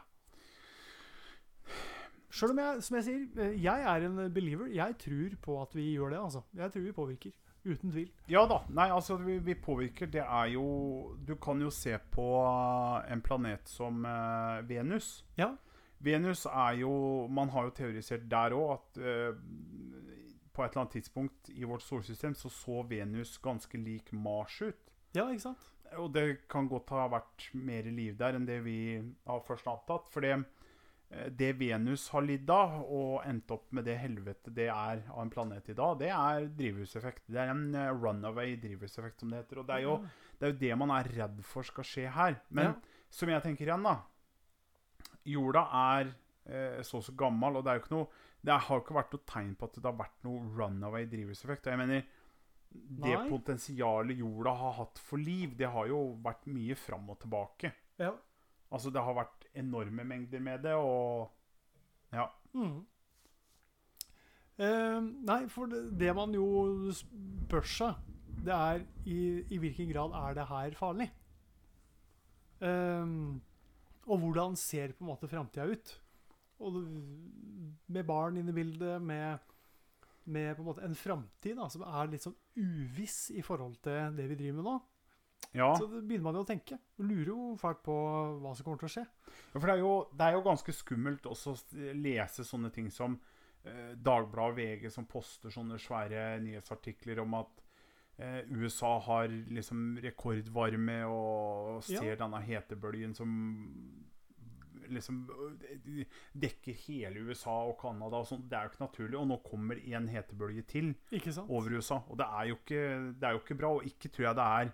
Sjøl om jeg, som jeg sier, eh, jeg er en believer. Jeg tror på at vi gjør det, altså. Jeg tror vi påvirker. Uten tvil.
Ja da. Nei, altså vi, vi påvirker. Det er jo Du kan jo se på eh, en planet som eh, Venus.
Ja.
Venus er jo Man har jo teorisert der òg at eh, på et eller annet tidspunkt i vårt solsystem så så Venus ganske lik Mars ut.
Ja, ikke sant?
Og det kan godt ha vært mer liv der enn det vi har først antatt. For det, eh, det Venus har lidd av, og endt opp med det helvete det er av en planet i dag, det er drivhuseffekt. Det er en eh, runaway drivhuseffekt, som det heter. Og det er jo det, er jo det man er redd for skal skje her.
Ja.
Men som jeg tenker igjen, da Jorda er eh, så og så gammel, og det er jo ikke noe det har jo ikke vært noe tegn på at det har vært noe runaway drivhuseffekt. Og jeg mener, det
Nei.
potensialet jorda har hatt for liv, det har jo vært mye fram og tilbake.
Ja.
Altså, det har vært enorme mengder med det, og Ja.
Mm. Eh, nei, for det, det man jo spør seg, det er i, i hvilken grad er det her farlig? Eh, og hvordan ser på en måte framtida ut? Og det- med barn inne i bildet, med, med på en måte en framtid da, som er litt sånn uviss i forhold til det vi driver med nå.
ja.
Så det begynner man jo å tenke. Og lurer jo fælt på hva som kommer til å skje.
Ja, For det er, jo, det er jo ganske skummelt også å s- lese sånne ting som eh, Dagbladet og VG som poster sånne svære nyhetsartikler om at eh, USA har liksom rekordvarme og ser denne hetebølgen som liksom øh, dekker hele USA og Canada og sånn. Det er jo ikke naturlig. Og nå kommer en hetebølge til
Ikke sant?
over USA. Og det er jo ikke, det er jo ikke bra. Og ikke tror jeg det er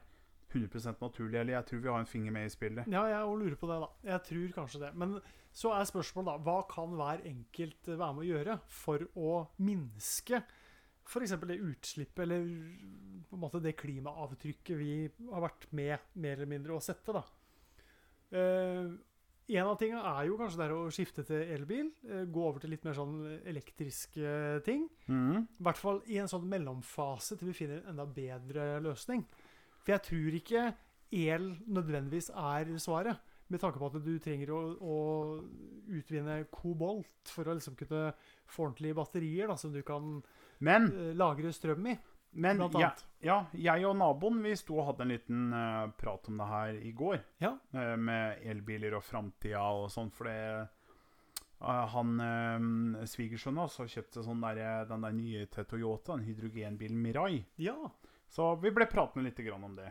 100 naturlig. Eller jeg tror vi har en finger med i spillet.
Ja, jeg også lurer på det, da. Jeg tror kanskje det. Men så er spørsmålet, da. Hva kan hver enkelt eh, være med å gjøre for å minske f.eks. det utslippet, eller på en måte det klimaavtrykket vi har vært med mer eller mindre å sette, da? Eh, en av tingene er jo kanskje det er å skifte til elbil. eh, gå over til litt mer sånn elektriske ting.
Mhm.
I hvert fall i en sånn mellomfase til vi finner en enda bedre løsning. For jeg tror ikke el nødvendigvis er svaret, med tanke på at du trenger å, å utvinne kobolt for å liksom kunne få ordentlige batterier da, som du kan
Men
eh, lagre strøm i.
Men
Blant
jeg,
annet.
ja, jeg og naboen vi sto og hadde en liten eh, prat om det her i går.
Ja.
Eh, med elbiler og framtida og sånn. For det eh, han uh, svigersønnen også kjøpte sånn der, eh, den der nye til Toyota, den hydrogenbilen Mirai.
Ja.
Så vi ble pratende litt grann om det.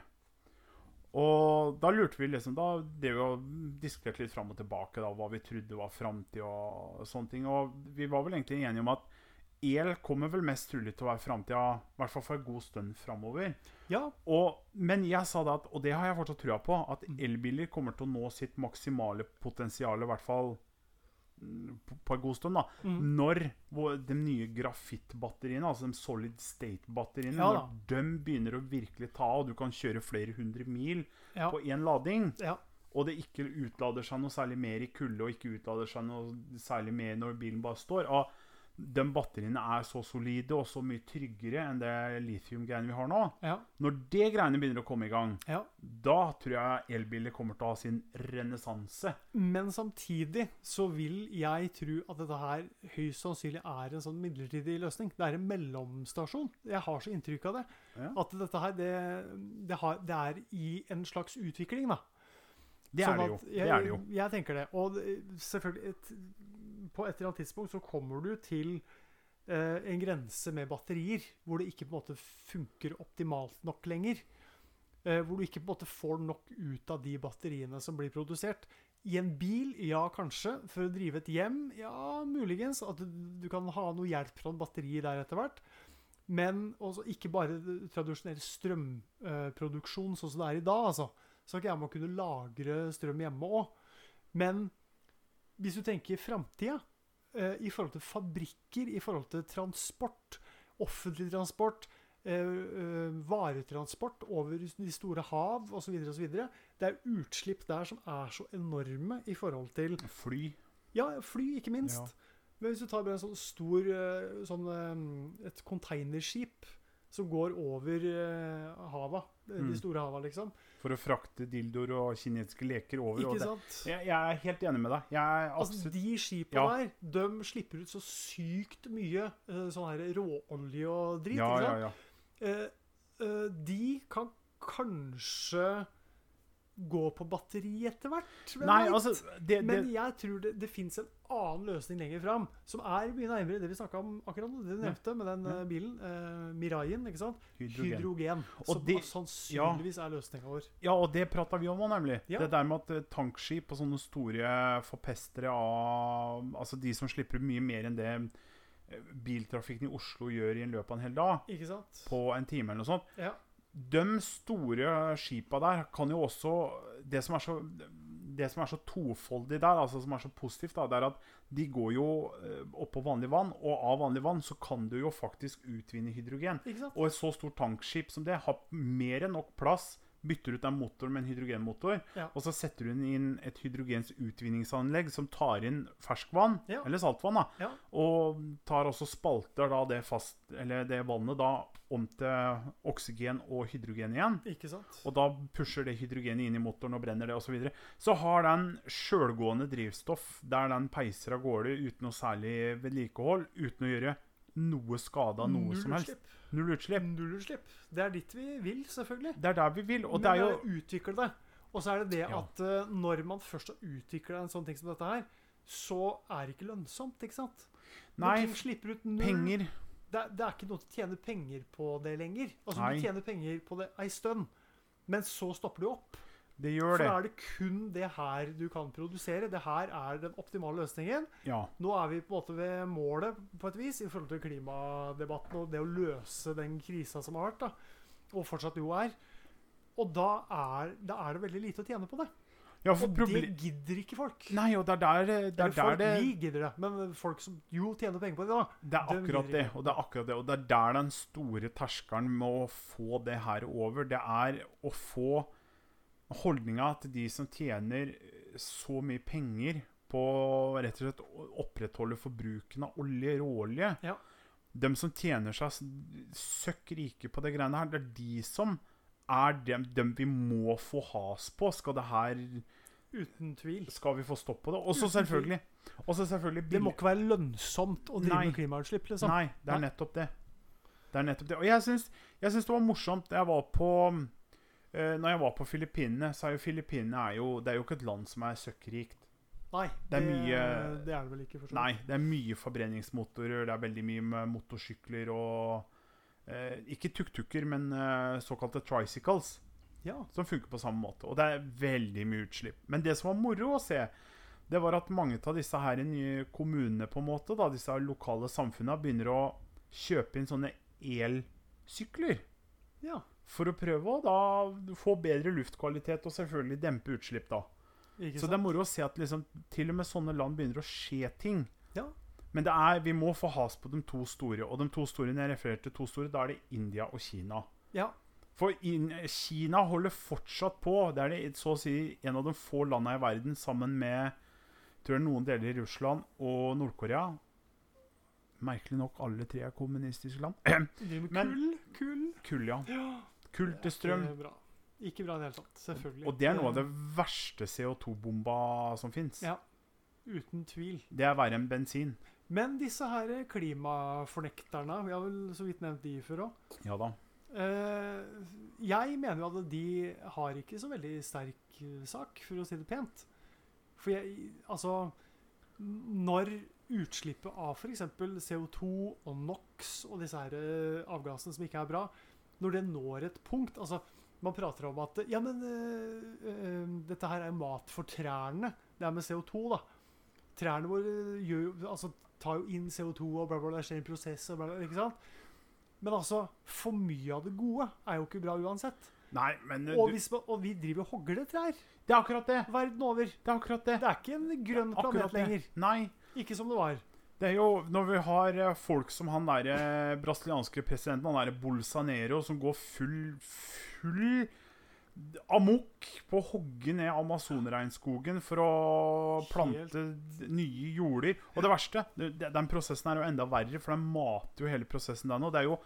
Og da lurte vi liksom Da drev vi og diskuterte litt fram og tilbake da, hva vi trodde var framtid og sånne ting. Og vi var vel egentlig enige om at el kommer vel mest trolig til å være framtida, i hvert fall for en god stund framover.
ja.
Og, men jeg sa da at, og det har jeg fortsatt trua på, at
Mm.
elbiler kommer til å nå sitt maksimale potensial, i hvert fall mm, på- på en god stund, da.
Mm.
Når hvor- de nye grafittbatteriene, altså de solid state-batteriene,
Ja
når de begynner å virkelig ta av, og du kan kjøre flere hundre mil
Ja.
på én lading,
Ja.
og det ikke utlader seg noe særlig mer i kulde, og ikke utlader seg noe særlig mer når bilen bare står og De batteriene er så solide og så mye tryggere enn det lithium-greiene vi har nå.
Ja.
Når det greiene begynner å komme i gang,
ja.
da tror jeg elbiler kommer til å ha sin renessanse.
Men samtidig så vil jeg tro at dette her høyst sannsynlig er en sånn midlertidig løsning. Det er en mellomstasjon. Jeg har så inntrykk av det.
Ja.
At dette her, det, det, har, det er i en slags utvikling, da.
Det
Sånn
er det
at
jo.
Jeg,
Det er det jo.
Jeg tenker det. Og det- selvfølgelig et, På et eller annet tidspunkt så kommer du til eh, en grense med batterier hvor det ikke på en måte funker optimalt nok lenger. Eh, hvor du ikke på en måte får nok ut av de batteriene som blir produsert. I en bil, ja kanskje. For å drive et hjem, ja muligens. At du, du kan ha noe hjelp fra batterier der etter hvert. Men også ikke bare tradisjonell strømproduksjon sånn som det er i dag, altså. Så ikke jeg må kunne lagre strøm hjemme òg. Men hvis du tenker framtida, eh, i forhold til fabrikker, i forhold til transport, offentlig transport, eh, eh, varetransport over de store hav osv., osv. Det er utslipp der som er så enorme i forhold til
Fly.
ja, fly, ikke minst.
Ja.
Men hvis du tar bare en sånn stor eh, sånn, eh, Et containerskip som går over eh, hava.
Mm.
De store hava, liksom.
For å frakte dildoer og kinesiske leker over. og
Ikke
det-
sant?
Jeg, jeg er helt enig med deg. Jeg er
Altså,
absolutt
de skipa
Ja.
der, de slipper ut så sykt mye eh, sånn her råolje og drit.
ja,
ikke sant?
ja, ja.
Eh, eh, de kan kanskje gå på batteri etter hvert. hvem
Nei,
vet?
altså det, det,
Men jeg tror det, det fins en annen løsning lenger fram, som er mye nærmere det vi snakka om akkurat nå. Det du
Ja.
nevnte med den
Ja.
eh, bilen, eh, Miraien, ikke sant?
Hydrogen.
Hydrogen.
Og
som
det-
sannsynligvis er løsninga vår.
Ja, og det prata vi om òg, nemlig.
Ja.
Det der med at eh, tankskip og sånne store forpestere av Altså de som slipper ut mye mer enn det eh, biltrafikken i Oslo gjør i en løpet av en hel dag,
Ikke sant?
på en time eller noe sånt.
Ja.
De store skipa der kan jo også Det som er så, det som er så tofoldig der, altså som er så positivt, da, det er at de går jo eh, oppå vanlig vann, og av vanlig vann så kan du jo faktisk utvinne hydrogen.
Ikke sant?
Og et så stort tankskip som det har mer enn nok plass. Bytter ut en motor med en hydrogenmotor,
Ja.
og så setter hun inn et hydrogens utvinningsanlegg som tar inn ferskvann,
Ja.
eller saltvann, da,
Ja.
og tar også spalter da det, fast, eller det vannet da om til oksygen og hydrogen igjen.
Ikke sant?
Og da pusher det hydrogenet inn i motoren og brenner det osv. Så, videre. så har den sjølgående drivstoff der den peiser av gårde uten noe særlig vedlikehold, uten å gjøre noe skade av noe
Null
som helst.
utslipp.
Null utslipp.
Nullutslipp. Det er dit vi vil, selvfølgelig.
Det er der vi vil. Og
Men
det er jo
å utvikle det. Og så er det det
Ja.
at eh, når man først har utvikla en sånn ting som dette her, så er det ikke lønnsomt, ikke sant? Når
Nei,
ting slipper ut null
penger.
det, er- det er ikke noe til å tjene penger på det lenger. Altså,
Nei.
Du tjener penger på det ei stund, men så stopper du opp.
Det
For
gjør det.
da er det kun det her du kan produsere. Det her er den optimale løsningen.
Ja.
Nå er vi på en måte ved målet på et vis i forhold til klimadebatten og det å løse den krisa som har vært, da. og fortsatt jo er. Og da er, da er det veldig lite å tjene på det.
ja for
Og det
proble-
gidder ikke folk.
Nei, og det er der det, det,
Eller
er der
folk,
det,
vi gidder det, men folk som jo tjener penger på det, da.
det er
dem
akkurat
gidder
det.
ikke.
Og det er akkurat det. Og det er der den store terskelen med å få det her over, det er å få holdninga til de som tjener så mye penger på rett og slett å opprettholde forbruken av olje, råolje
Ja.
De som tjener seg s- søkk rike på det greiene her, det er de som er dem, dem vi må få has på. Skal det her
Uten tvil.
skal vi få stopp på det. Og så selvfølgelig, også selvfølgelig
Det
billig-
må ikke være lønnsomt å drive
Nei.
med klimautslipp, liksom.
Nei, det er
Nei.
nettopp det. Det er nettopp det. Og jeg syns, jeg syns det var morsomt da jeg var på eh, Når jeg var på Filippinene, så er jo Filippinene er jo, det er jo ikke et land som er søkkrikt.
Nei,
Det er mye-
det er det vel ikke. for så vidt.
Nei, det er mye forbrenningsmotorer, det er veldig mye med motorsykler og eh, Ikke tuk-tuker, men eh, såkalte tricycles.
Ja.
som funker på samme måte. Og det er veldig mye utslipp. Men det som var moro å se, det var at mange av disse her nye kommunene, på en måte, da, disse lokale samfunnene, begynner å kjøpe inn sånne elsykler.
ja.
For å prøve å da få bedre luftkvalitet og selvfølgelig dempe utslipp, da.
Ikke
Så det
sant?
er moro å se at liksom, til og med sånne land begynner å skje ting.
Ja.
Men det er, vi må få has på de to store. Og de to store, når jeg refererer til to store, da er det India og Kina.
Ja.
For in, Kina holder fortsatt på. Det er det, så å si en av de få landene i verden, sammen med tror jeg noen deler i Russland og Nord-Korea. Merkelig nok, alle tre er kommunistiske land.
Driver med
Men-
kull, kull.
Kull, ja.
Ja.
Kull til strøm.
Ikke bra. Ikke bra i det hele tatt. Selvfølgelig.
Og det er noe av det verste CO2-bomba som fins.
Ja. Uten tvil.
Det er verre enn bensin.
Men disse her klimafornekterne, vi har vel så vidt nevnt de før òg.
Ja da.
Eh, jeg mener jo at de har ikke så veldig sterk eh, sak, for å si det pent. For jeg Altså n- Når utslippet av f.eks. CO2 og NOx og disse her eh, avgassene som ikke er bra, når det når et punkt altså Man prater om at Ja, men eh, eh, dette her er jo mat for trærne. Det er med CO2, da. Trærne våre gjør jo Altså tar jo inn CO2 og bla, bla, bla. Det skjer en prosess og bla, bla. Ikke sant? Men altså, for mye av det gode er jo ikke bra uansett.
Nei, men eh,
Og,
du,
hvis man, og vi driver og hogler trær
Det er akkurat det!
verden over.
Det er akkurat det.
Det er ikke en grønn
Akkurat
planet
det.
lenger.
Nei.
Ikke som det var.
Det er jo når vi har eh, folk som han der eh, brasilianske presidenten, han derre Bolsanero, som går full, full amok på å hogge ned Amazonregnskogen for å plante nye jorder. Og det verste, det- det- den prosessen er jo enda verre, for den mater jo hele prosessen der nå. Det er jo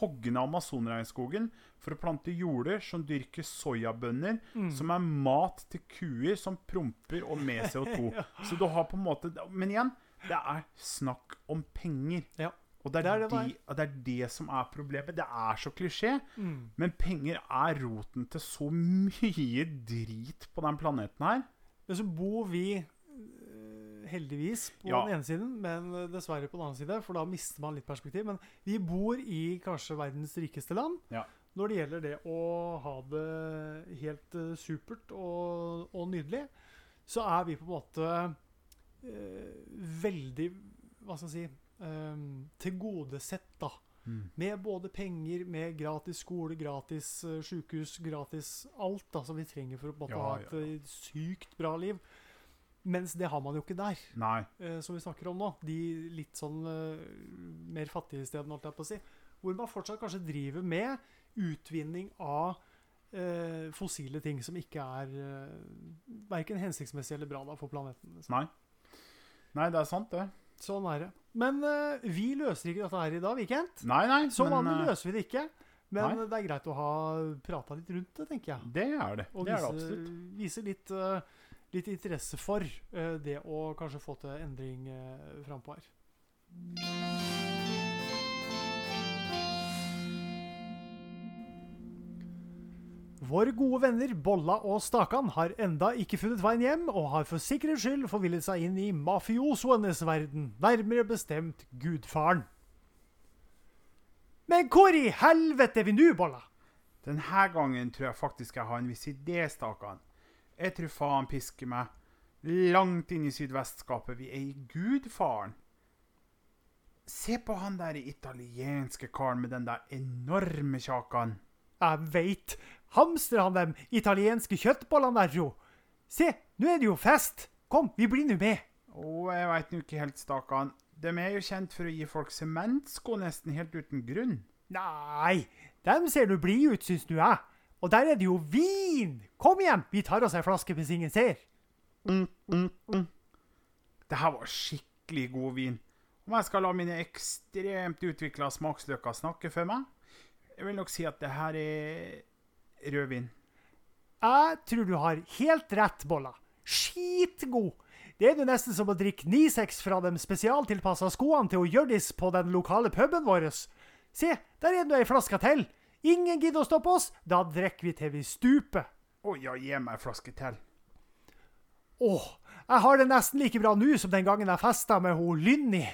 hogge ned Amazonregnskogen for å plante jorder som dyrker soyabønner,
Mm.
som er mat til kuer som promper
<laughs>
og med CO2. Så du har på en måte Men igjen, det er snakk om penger.
Ja.
Og det er
Det er
det,
det det
og det er det som er problemet. Det er så klisjé,
Mm.
men penger er roten til så mye drit på den planeten her.
Men så bor vi eh, heldigvis på
Ja.
den ene siden, men eh, dessverre på den andre siden, for da mister man litt perspektiv. Men vi bor i kanskje verdens rikeste land
Ja.
når det gjelder det å ha det helt eh, supert og, og nydelig. Så er vi på en måte eh, veldig Hva skal jeg si eh, Tilgodesett, da. Med både penger, med gratis skole, gratis uh, sykehus, gratis alt da, som vi trenger for å på en måte
Ja,
ha et
ja, ja.
eh, sykt bra liv. Mens det har man jo ikke der,
Nei.
eh, som vi snakker om nå. De litt sånn eh, mer fattige stedene, holdt jeg på å si. Hvor man fortsatt kanskje driver med utvinning av eh, fossile ting som ikke er uh, verken hensiktsmessig eller bra da, for planeten. liksom.
Nei. Nei, det er sant, det.
Sånn er det. Men eh, vi løser ikke dette her i dag, vi, Kent.
Nei, nei.
Som
men,
Sånn vanlig
eh,
løser vi det ikke, men
nei.
det er greit å ha prata litt rundt det, tenker jeg.
Det er det.
Og
det er
vise,
det absolutt.
vise litt, eh, litt interesse for eh, det å kanskje få til endring uh, frampå her. Våre gode venner Bolla og Stakan har enda ikke funnet veien hjem, og har for sikkerhets skyld forvillet seg inn i mafiosoenes verden, nærmere bestemt gudfaren. Men hvor i helvete er vi nå, Bolla?
Denne gangen tror jeg faktisk jeg har en viss idé, Stakan. Jeg tror faen pisker meg. Langt inn i sydvestskapet. Vi er i gudfaren. Se på han der italienske karen med den der enorme kjakan.
Jeg veit. Hamstrer han dem italienske kjøttbollene der, jo? Se, nå er det jo fest! Kom, vi blir nå med.
Å, jeg veit nå ikke helt, Stakan. De er jo kjent for å gi folk sementsko nesten helt uten grunn.
Nei, dem ser nå blide ut, syns nå jeg. Og der er det jo vin! Kom igjen, vi tar oss ei flaske mens ingen ser.
Det her var skikkelig god vin. Om jeg skal la mine ekstremt utvikla smaksløker snakke for meg, jeg vil nok si at det her er rødvin.
Jeg tror du har helt rett, Bolla. Skitgod. Det er jo nesten som å drikke Nisex fra de spesialtilpassa skoene til å Hjørdis på den lokale puben vår. Se, der er det ei flaske til! Ingen gidder å stoppe oss! Da drikker vi til vi stuper!
Å ja, gi meg en flaske til.
Åh, jeg har det nesten like bra nå som den gangen jeg festa med ho Lynni.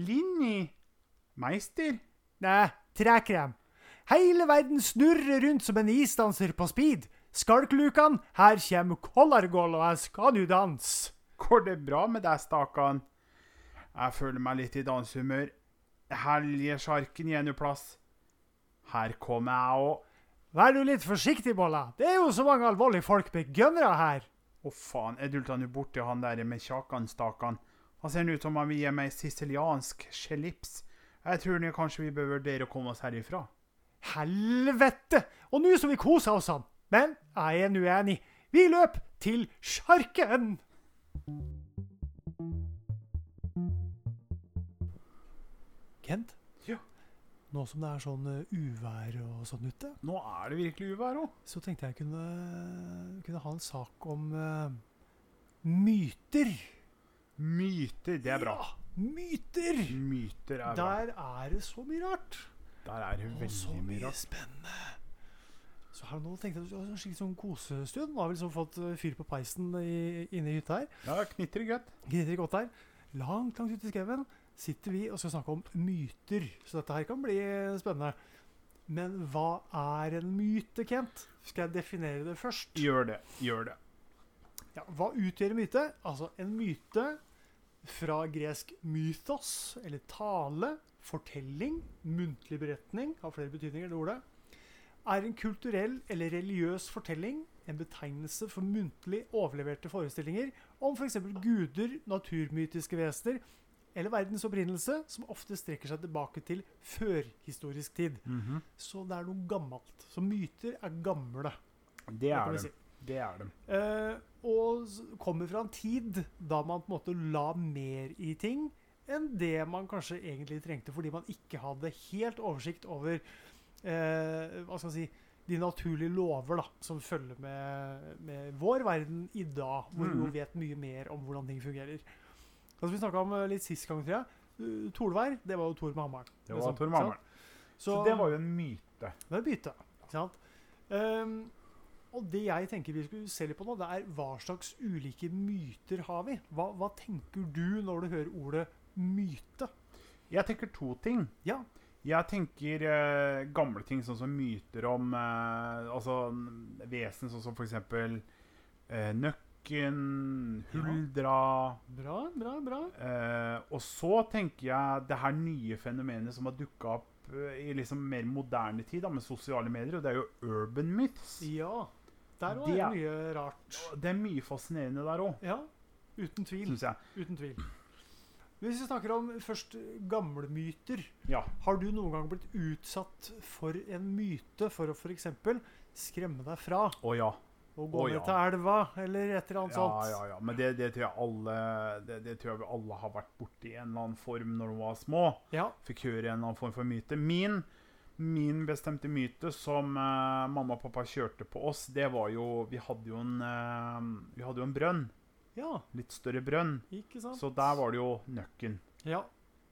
Linni? Meister?
Nei, trekrem. Hele verden snurrer rundt som en isdanser på speed. Skalklukene, her kommer Kollargol, og jeg skal nu danse.
Går det bra med deg, stakan? Jeg føler meg litt i danshumør. Hellige sjarken gir nå plass. Her kommer jeg òg.
Vær du litt forsiktig, Bolla. Det er jo så mange alvorlige folk med gønnere her.
Å faen, jeg dulta nå borti han der med kjakan, stakan. Han ser nå ut som han vil gi meg siciliansk skjelips. Jeg tror nå kanskje vi bør vurdere å komme oss herifra.
Helvete! Og nå som vi koser oss sånn. Men jeg er nå enig. Vi løp til sjarken! Kent?
Ja?
Nå som det er sånn eh, uvær og sånn ute,
Nå er det virkelig uvær òg.
så tenkte jeg kunne, kunne ha en sak om eh, myter.
Myter, det er bra.
Ja, myter!
Myter er bra.
Der er det så mye rart.
Der er det
Og så
veldig mye
mye
rart.
spennende. Så her nå tenkte jeg det var en skikkelig sånn kosestund. Nå har vi liksom fått eh, fyr på peisen i, inne i hytta her.
Ja, knitrer godt.
Gnitrer godt der. Langt, langt ute i skauen sitter vi og skal snakke om myter. Så dette her kan bli eh, spennende. Men hva er en myte, Kent? Skal jeg definere det først?
Gjør det. Gjør det.
Ja, hva utgjør en myte? Altså, en myte fra gresk mythos, eller tale, fortelling, muntlig beretning, har flere betydninger, det ordet, er en kulturell eller religiøs fortelling, en betegnelse for muntlig overleverte forestillinger om f.eks. guder, naturmytiske vesener eller verdens opprinnelse, som ofte strekker seg tilbake til førhistorisk tid. Så det er noe gammelt. Så myter er gamle.
Det
kan
er
vi
dem.
si.
Det er dem.
Eh, og s- kommer fra en tid da man på en måte la mer i ting enn det man kanskje egentlig trengte, fordi man ikke hadde helt oversikt over eh, hva skal jeg si, de naturlige lover da, som følger med, med vår verden i dag, hvor vi jo
Mhm.
vet mye mer om hvordan ting fungerer. Altså, vi snakka om eh, litt sist gang, tror jeg. Uh, Torvær, det var jo Tor med hammeren.
Det var
liksom,
Tor
sant?
Mammeren. Så
Så-
det var jo en myte.
det er bytte, ikke sant? Ehm, og det jeg tenker vi skulle se litt på nå, det er hva slags ulike myter har vi? Hva, hva tenker du når du hører ordet myte?
Jeg tenker to ting.
Ja.
Jeg tenker eh, gamle ting, sånn som myter om eh, altså, mm, vesen, sånn som for eksempel eh, Nøkken, Huldra
Bra, bra, bra.
eh, Og så tenker jeg det her nye fenomenet som har dukka opp eh, i liksom mer moderne tid, da, med sosiale medier, og det er jo urban myths.
Ja. Der var
Det
det
er-
mye rart.
Det er mye fascinerende der òg,
Ja. Uten tvil.
syns jeg.
Uten tvil. Hvis vi snakker om først gamle myter,
Ja.
har du noen gang blitt utsatt for en myte for å f.eks. skremme deg fra
Å ja.
å gå
Å,
ned
ja.
til elva, eller et eller annet
Ja,
sånt?
ja, ja. Men det, det tror jeg alle det, det tror jeg vi alle har vært borti i en eller annen form når de var små.
ja.
Fikk høre en eller annen form for myte. Min, min bestemte myte som eh, mamma og pappa kjørte på oss, det var jo Vi hadde jo en, eh, vi hadde jo en brønn.
Ja,
Litt større brønn.
ikke sant?
Så der var det jo nøkken.
Ja,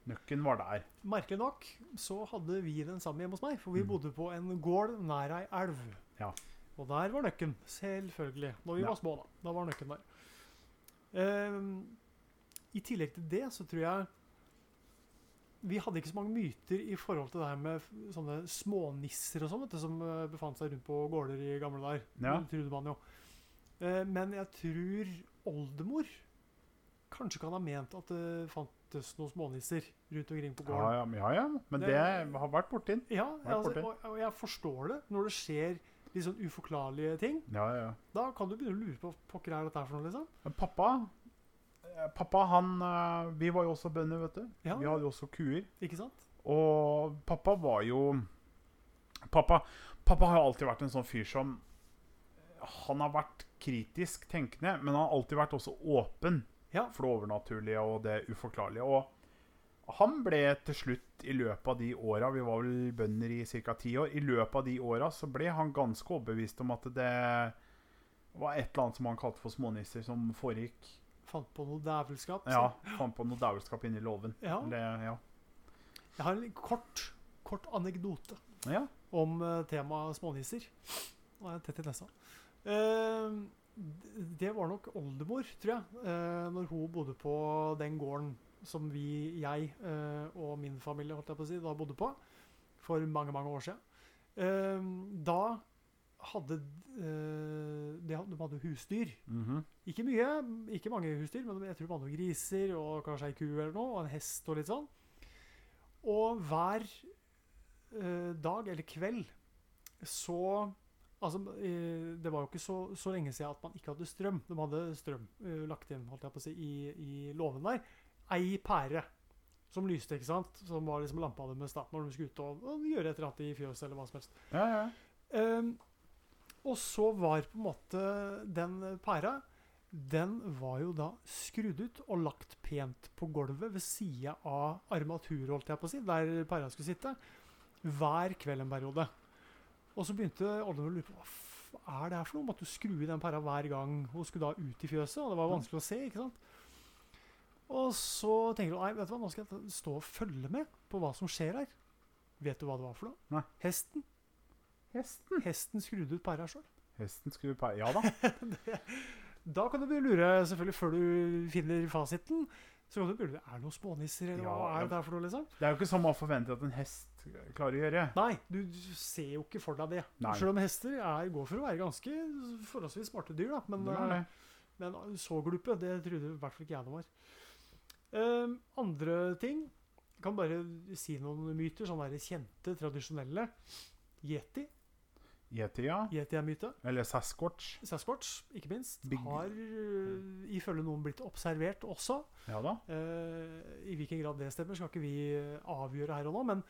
Nøkken var der.
merkelig nok så hadde vi den samme hjemme hos meg, for vi
Mm.
bodde på en gård nær ei elv.
Ja.
Og der var nøkken, selvfølgelig. Når vi
Ja.
var små, da. Da var nøkken der. Ehm, I tillegg til det så tror jeg vi hadde ikke så mange myter i forhold til det her med f- sånne smånisser og sånn, vet du, som eh, befant seg rundt på gårder i gamle dager.
Ja.
Det trodde man jo. Eh, Men jeg tror oldemor kanskje kan ha ment at det fantes noen smånisser rundt omkring på
Ja,
gården.
ja, ja. ja. Men
Det-
det har vært borti den.
Ja,
Vært
altså,
borti.
og, og jeg forstår det. Når det skjer litt sånn uforklarlige ting,
Ja, ja, ja.
da kan du begynne å lure på hva pokker er dette her for noe, liksom.
Men pappa eh, Pappa, han eh, Vi var jo også bønder, vet du.
Ja.
Vi hadde jo også kuer.
Ikke sant?
Og pappa var jo Pappa, pappa har jo alltid vært en sånn fyr som Han har vært kritisk tenkende, men han har alltid vært også åpen
Ja.
for det overnaturlige og det uforklarlige. Og han ble til slutt, i løpet av de åra Vi var vel bønder i ca. ti år. I løpet av de åra så ble han ganske overbevist om at det var et eller annet som han kalte for smånisser, som foregikk.
Fant på noe dævelskap.
Ja,
så-
fant på noe dævelskap inni låven.
ja.
Det- Ja.
Jeg har en kort, kort anekdote
Ja.
om eh, temaet smånisser. Nå er jeg tett i nesa. Eh, d- det var nok oldemor, tror jeg, eh, når hun bodde på den gården som vi, jeg eh, og min familie holdt jeg på å si, da bodde på for mange, mange år siden. Eh, da hadde eh, de hadde- de hadde husdyr.
Mhm.
Ikke mye, ikke mange husdyr, men jeg tror det var noen griser og kanskje ei ku eller noe, og en hest og litt sånn. Og hver eh, dag eller kveld så Altså, eh, det var jo ikke så, så lenge siden at man ikke hadde strøm. De hadde strøm eh, lagt inn, holdt jeg på å si, i, i låven der. Ei pære som lyste, ikke sant? Som var liksom lampa deres da, når de skulle ut og, og gjøre et eller annet i fjøset eller hva som helst.
ja, ja.
Ehm, og så var på en måte den pæra Den var jo da skrudd ut og lagt pent på gulvet ved sida av armaturet, holdt jeg på å si, der pæra skulle sitte, hver kveld en periode. Og så begynte Oliver å lure på hva f- er det her for noe? Måtte du skru i den pæra hver gang hun skulle da ut i fjøset? Og det var jo vanskelig å se, ikke sant? Og så tenker du nei, vet du hva, nå skal jeg ta- stå og følge med på hva som skjer her. Vet du hva det var for noe?
Nei.
Hesten
Hesten.
Hesten skrudde ut pæra sjøl.
Hesten skulle pa... Ja da.
Da kan du begynne å lure, selvfølgelig før du finner fasiten. Så kan du begynne, Er det noen smånisser, eller
Ja,
hva er
ja.
det der for noe? liksom?
Det er jo ikke sånn man forventer at en hest klarer å gjøre.
Nei, du du ser jo ikke for deg det.
Nei.
Selv om hester er, går for å være ganske forholdsvis smarte dyr, da. Men, eh,
Det er det.
men så glupe, det trodde i hvert fall ikke jeg det var. Ehm, andre ting Kan bare si noen myter, sånne der kjente, tradisjonelle. Yeti.
Yeti, ja.
Yeti er myte.
Eller Sasquatch.
Sasquatch, ikke minst,
Big-
har øh, ifølge noen blitt observert også.
Ja da.
Eh, I hvilken grad det stemmer, skal ikke vi eh, avgjøre her og nå, men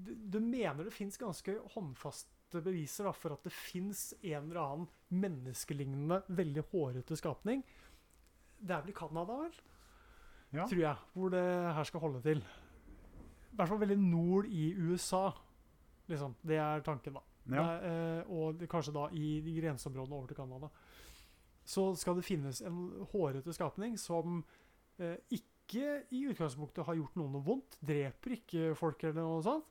du, du mener det fins ganske håndfaste beviser da, for at det fins en eller annen menneskelignende, veldig hårete skapning. Det er vel i Canada, vel?
Ja.
Tror jeg, hvor det her skal holde til. I hvert fall veldig nord i USA, liksom. Det er tanken, da.
Ja.
Nei, eh, og det- kanskje da i de grenseområdene over til Canada. Så skal det finnes en hårete skapning som eh, ikke i utgangspunktet har gjort noen noe vondt, dreper ikke folk eller noe sånt,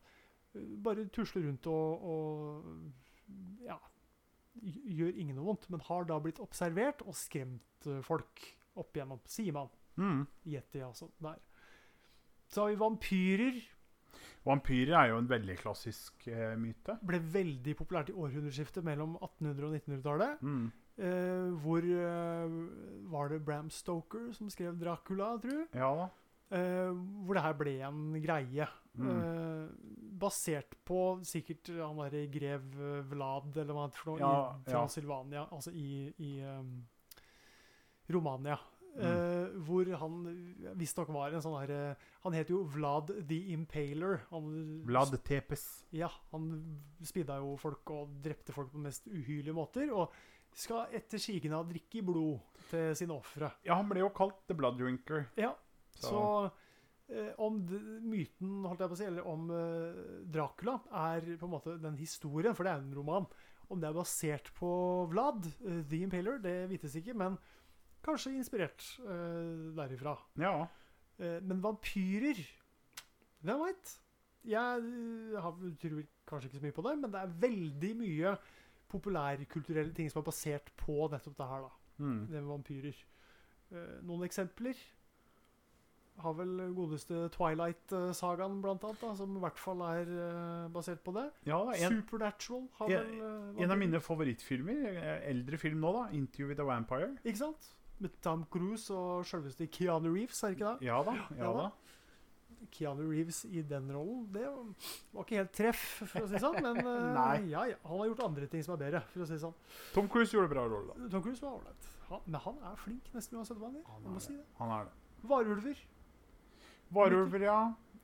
eh, bare tusler rundt og, og ja, gj- gjør ingen noe vondt, men har da blitt observert og skremt eh, folk opp igjennom, sier man.
Mm.
Yeti, altså. Der. Så har vi vampyrer.
Vampyrer er jo en veldig klassisk eh, myte.
Ble veldig populært i århundreskiftet mellom 1800- og 1900-tallet.
Mm.
Eh, hvor eh, var det Bram Stoker som skrev 'Dracula', tror jeg?
Ja da.
Eh, hvor det her ble en greie.
Mm.
Eh, basert på sikkert han derre grev eh, Vlad, eller hva han heter for noe,
Ja,
i
ja.
Transilvania, altså i, i eh, Romania.
Mm.
Eh, hvor han visstnok var en sånn herre Han het jo Vlad the Impaler. Han
Vlad Tepes.
ja, han spidda jo folk og drepte folk på mest uhyrlige måter. Og skal etter sigende ha drikke i blod til sine ofre.
Ja, han ble jo kalt The Blood Drinker.
Ja,
Så,
så, eh, om d myten, holdt jeg på å si, eller om eh, Dracula, er på en måte den historien, for det er en roman. Om det er basert på Vlad, eh, The Impaler, det vites ikke, men kanskje inspirert eh, derifra.
ja.
Eh, Men vampyrer Hvem veit? Jeg eh, har, tror kanskje ikke så mye på det, men det er veldig mye populærkulturelle ting som er basert på nettopp det her, da.
Mm.
Det med vampyrer. Eh, Noen eksempler har vel godeste Twilight-sagaen, blant annet, da, som i hvert fall er eh, basert på det.
ja da, en,
Supernatural har vel
en-
eh,
en av
vampyrer.
mine favorittfilmer, eh, eldre film nå, da, 'Interview with a Vampire'.
Ikke sant? Med Tom Cruise og selveste Keanu Reeves, er det ikke det?
Ja da. ja
Ja da.
da.
Keanu Reeves i den rollen, det var ikke helt treff, for å si det sånn. <laughs> Men eh,
Nei.
ja, ja, han har gjort andre ting som er bedre, for å si det sånn.
Tom Cruise gjorde bra rolle, da.
Tom Cruise var ålreit. Han- Men han er flink nesten uansett hva han gjør.
Han
Jeg
er
må si det.
Han er det.
Varulver.
Varulver, ja.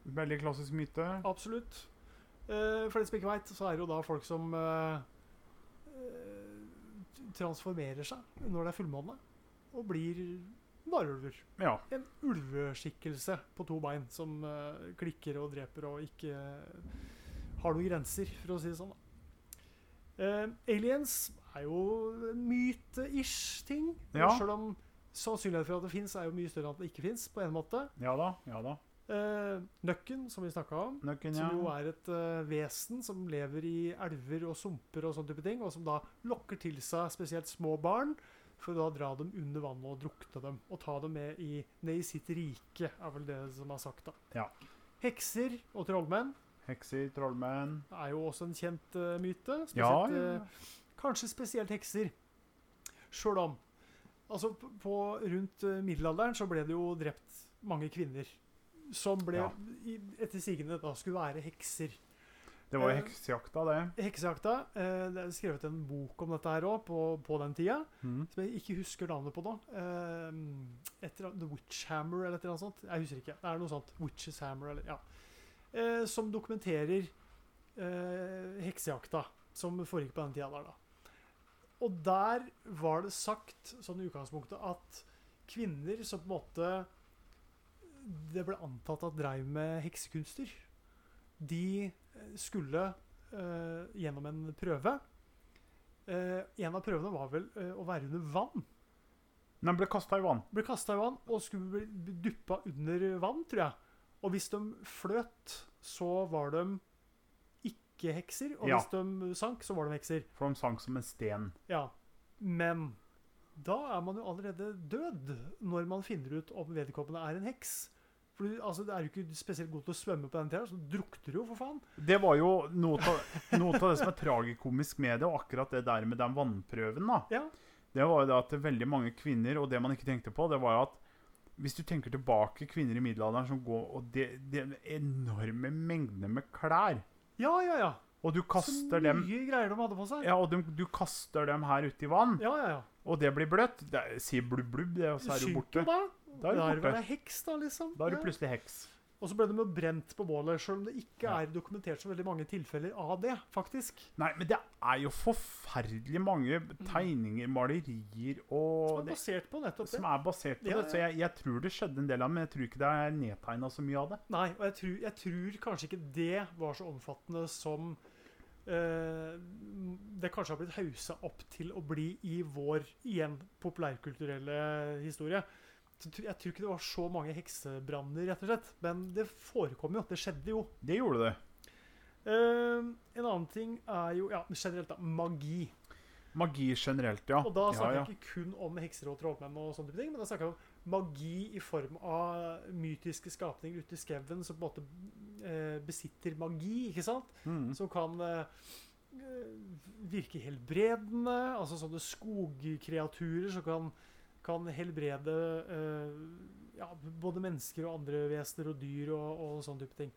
Veldig klassisk myte.
Absolutt. Eh, for de som ikke veit, så er det jo da folk som eh, eh, transformerer seg når det er fullmåne, og blir varulver.
Ja.
en ulveskikkelse på to bein som eh, klikker og dreper og ikke eh, har noen grenser, for å si det sånn. da. Eh, aliens er jo en myte-ish-ting.
Ja.
Selv om sannsynligheten for at det fins, er jo mye større enn at det ikke fins, på en måte.
Ja da. ja da.
Eh, nøkken, som vi snakka om,
Nøkken, ja.
som jo er et eh, vesen som lever i elver og sumper og sånn type ting, og som da lokker til seg spesielt små barn for å da dra dem under vannet og drukne dem. Og ta dem med i, ned i sitt rike, er vel det som er sagt, da.
Ja.
Hekser og trollmenn
Hekser, trollmenn
er jo også en kjent eh, myte.
ja,
Spesielt,
ja.
eh, Kanskje spesielt hekser. Sjøl om Altså, p- på rundt eh, middelalderen så ble det jo drept mange kvinner. Som ble,
Ja.
i, etter sigende, da skulle være hekser.
Det var jo
eh,
heksejakta, det.
Heksejakta eh, Det er skrevet en bok om dette her òg, på, på den tida.
Mm.
Som jeg ikke husker navnet på nå. Eh, et eller annet- The Witch Hammer eller et eller annet sånt. Jeg husker ikke. Det er noe sånt. Witches Hammer eller Ja. Eh, som dokumenterer eh, heksejakta som foregikk på den tida der, da. Og der var det sagt, sånn i utgangspunktet, at kvinner som på en måte Det ble antatt at dreiv med heksekunster. De eh, skulle eh, gjennom en prøve. Eh, en av prøvene var vel eh, å være under vann.
Den ble kasta i vann.
Ble kasta i vann og skulle bli duppa under vann, tror jeg. Og hvis de fløt, så var de ikke hekser. Og
Ja.
hvis de sank, så var de hekser.
For de sank som en sten.
Ja. Men da er man jo allerede død når man finner ut om vedkommende er en heks. For du, altså, det er jo ikke spesielt god til å svømme på den tida, så du drukner jo, for faen.
Det var jo noe av noe av det som er tragikomisk med det, og akkurat det der med den vannprøven, da.
Ja.
Det var jo det at veldig mange kvinner, og det man ikke tenkte på, det var jo at hvis du tenker tilbake kvinner i middelalderen som går Og det, det er enorme mengder med klær.
Ja, ja, ja.
Og du
så
kaster
mye
dem
greier de hadde på seg.
Ja, og dem- du kaster dem her ute i vann,
ja, ja. ja.
og det blir bløtt. Det er- sier blubb, blubb, det, og så er du borte.
Synker da.
Da er du
Da er
borte.
det heks, da, liksom.
Da er du
Ja.
plutselig heks.
Og så ble de jo brent på bålet, selv om det ikke
Ja.
er dokumentert så veldig mange tilfeller av det, faktisk.
Nei, men det er jo forferdelig mange tegninger, malerier
Mm. Som
og
er basert på nettopp det.
som er basert på
Ja,
det. Så jeg, jeg tror det skjedde en del av det, men jeg tror ikke det er nedtegna så mye av det.
Nei, og jeg tror, jeg tror kanskje ikke det var så omfattende som eh, det kanskje har blitt hausa opp til å bli i vår igjen populærkulturelle historie. Så tr- Jeg tror ikke det var så mange heksebranner, rett og slett. Men det forekom jo. Det skjedde jo.
Det gjorde det.
Eh, en annen ting er jo ja, generelt da, magi.
Magi generelt, ja.
Og da snakker
ja, ja.
jeg ikke kun om hekser og trollmenn, og sånne type ting, men da snakker jeg om magi i form av mytiske skapninger ute i skauen som på en måte eh, besitter magi, ikke sant?
Mm.
Som kan eh, virke helbredende, altså sånne skogkreaturer som kan, kan helbrede eh, ja, både mennesker og andre vesener og dyr og, og sånne type ting.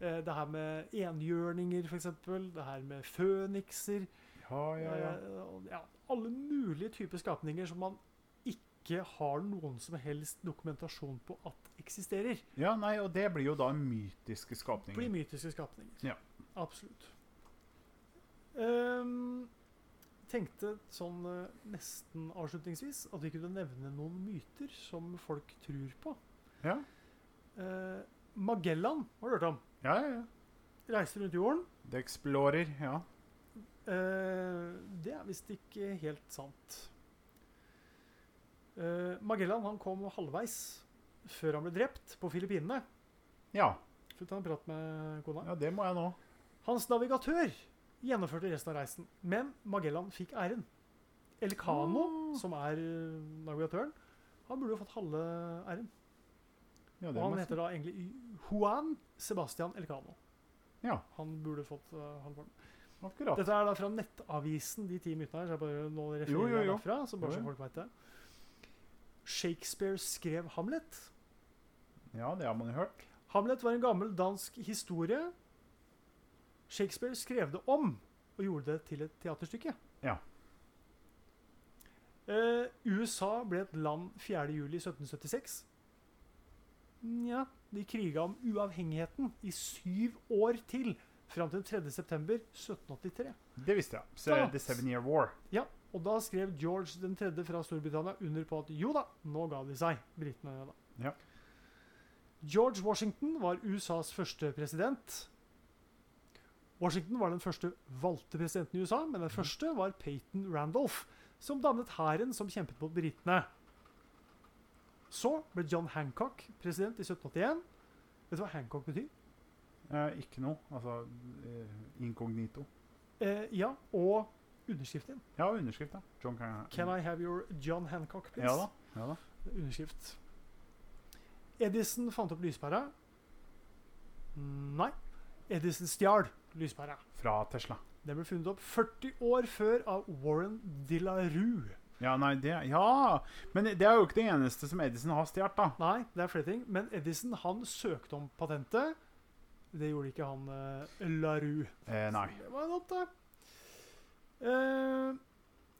Eh, det her med enhjørninger, f.eks. Det her med fønikser.
ja, ja, ja.
Eh, og ja, alle mulige typer skapninger som man ikke har noen som helst dokumentasjon på at eksisterer.
Ja, nei, og det blir jo da mytiske
Blir
skapninger.
mytiske skapninger.
Ja.
Absolutt. Ehm, tenkte sånn eh, nesten avslutningsvis at vi kunne nevne noen myter som folk tror på.
Ja,
Eh, Magellan har du hørt om.
ja, ja. ja.
Reiser rundt jorden.
The Explorer, ja.
Eh, det er visst ikke helt sant. Eh, Magellan han kom halvveis før han ble drept på Filippinene.
Ja,
Skal vi ta en prat med kona?
ja det må jeg nå.
Hans navigatør gjennomførte resten av reisen, men Magellan fikk æren. Elcano,
Ah.
som er eh, navigatøren, han burde jo fått halve æren.
Ja,
Og
det må
han
jeg si.
heter da egentlig Juan Sebastian Elcano.
Ja,
Han burde fått eh, halvparten.
akkurat.
Dette er da fra Nettavisen, de ti minuttene her. Så jeg bare nå
Jo, jo,
refererer jeg
jo.
derfra, så bare
Jo,
så
jo.
folk vet det. Shakespeare skrev Hamlet.
Ja, det har man jo hørt.
Hamlet var en gammel dansk historie. Shakespeare skrev det om og gjorde det til et teaterstykke.
Ja.
Eh, USA ble et land 4.7.1776. Nja De kriga om uavhengigheten i syv år til, fram til 3.9.1783.
Det visste jeg. Så,
Ja.
The Seven Year War.
Ja, og da skrev George den tredje fra Storbritannia under på at jo da, nå ga de seg, britene. da.
Ja.
George Washington var USAs første president. Washington var den første valgte presidenten i USA, men
Mhm.
den første var Peyton Randolph, som dannet hæren som kjempet mot britene. Så ble John Hancock president i 1781. Vet du hva Hancock betyr?
Eh, ikke noe. Altså eh, inkognito.
Eh, ja, og underskriften.
Ja, underskrift, da. John Can,
Can I have your John Hancock, please?
Mm. Ja da. Ja, da.
Underskrift. Edison fant opp lyspæra. Nei. Edison stjal lyspæra.
Fra Tesla.
Den ble funnet opp 40 år før av Warren de la Rue.
Ja, nei, det Ja! Men det er jo ikke det eneste som Edison har stjålet, da.
Nei, det er flere ting. Men Edison han søkte om patentet. Det gjorde ikke han eh, la Rue.
Eh, nei.
Så Det var en åtte.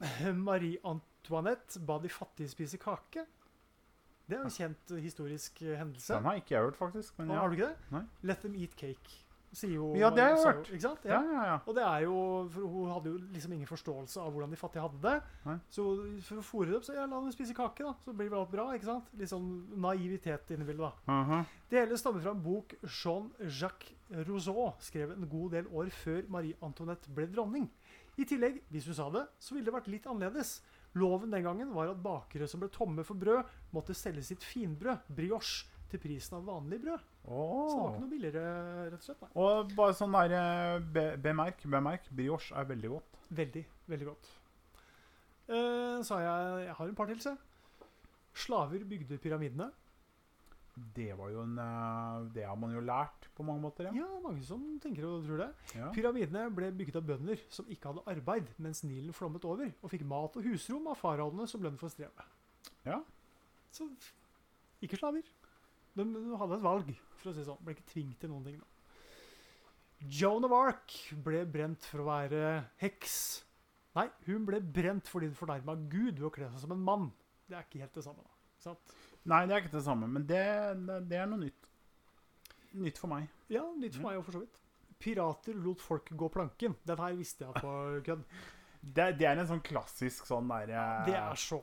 Eh, Marie Antoinette ba de fattige spise kake. Det er jo en kjent eh, historisk eh, hendelse.
Den har ikke jeg hørt, faktisk. Men
Og
ja.
Har du ikke det?
Nei.
Let them eat cake, sier jo
Ja, det har jeg
sa
hørt.
Jo, ikke sant?
ja,
Ja.
ja, ja.
Og det er jo, for Hun hadde jo liksom ingen forståelse av hvordan de fattige hadde det.
Nei.
Så for å fôre det opp, så ja, la dem spise kake, da. Så blir vel alt bra. ikke sant? Litt sånn naivitet inni bildet, da.
Mhm.
Det hele stammer fra en bok Jean-Jacques Rousseau skrev en god del år før Marie Antoinette ble dronning. I tillegg, hvis hun sa det, så ville det vært litt annerledes. Loven den gangen var at bakere som ble tomme for brød, måtte selge sitt finbrød, brioche, til prisen av vanlig brød. Så det var
Åh.
ikke noe billigere, rett og slett. Nei.
Og bare sånn der eh, be, Bemerk, bemerk. Brioche er veldig godt.
Veldig, veldig godt. Eh, sa jeg Jeg har en par til, se. Slaver bygde pyramidene.
Det var jo en eh, Det har man jo lært på mange måter, ja.
Ja, mange som tenker og tror det.
ja.
Pyramidene ble bygget av bønder som ikke hadde arbeid, mens Nilen flommet over, og fikk mat og husrom av faraoene som lønn for strevet.
Ja.
Så ikke slaver. De hadde et valg, for å si det sånn. Ble ikke tvunget til noen ting. da. Joan of Arc ble brent for å være heks. Nei, hun ble brent fordi hun fornærma Gud ved å kle seg som en mann. Det er ikke helt det samme. da. Ikke Sant?
Nei, det er ikke det samme, men det, det, det er noe nytt. Nytt for meg.
Ja, nytt
Mm.
for meg òg, for så vidt. Pirater lot folk gå planken. Den her visste jeg på kødd.
Det, det er en sånn klassisk sånn derre
Det er så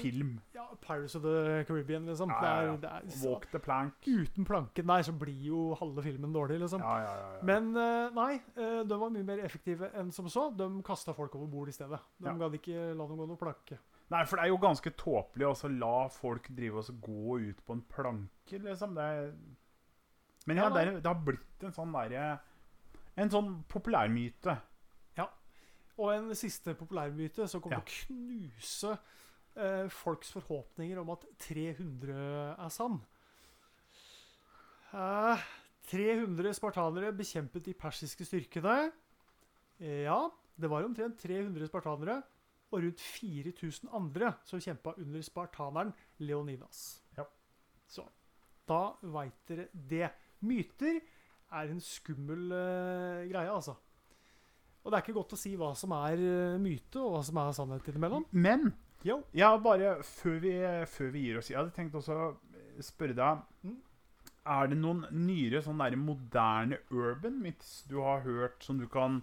film.
Ja, Pirates of the Caribbean, liksom.
Ja, ja, ja.
Det er, det er,
Walk the plank.
uten planken der, så blir jo halve filmen dårlig, liksom.
Ja, ja, ja. ja.
Men eh, nei, eh, de var mye mer effektive enn som så. De kasta folk over bord i stedet. De
Ja.
gadd ikke la dem gå noen planke.
Nei, for det er jo ganske tåpelig å så la folk drive og så gå ut på en planke, liksom. Det er... Men ja,
Ja, da.
det, er, det har blitt en sånn derre En sånn populærmyte.
Og en siste populærmyte som kommer
Ja.
til å knuse eh, folks forhåpninger om at 300 er sann. Eh, 300 spartanere bekjempet de persiske styrkene. Eh, Ja, det var omtrent 300 spartanere og rundt 4000 andre som kjempa under spartaneren Leonidas.
Ja.
Så da veit dere det. Myter er en skummel eh, greie, altså. Og det er ikke godt å si hva som er eh, myte, og hva som er sannhet innimellom.
Men
Jo.
jeg har bare, før vi, før vi gir oss Jeg hadde tenkt også å spørre deg
Mm.
Er det noen nyere, sånn der moderne urban myths du har hørt, som du kan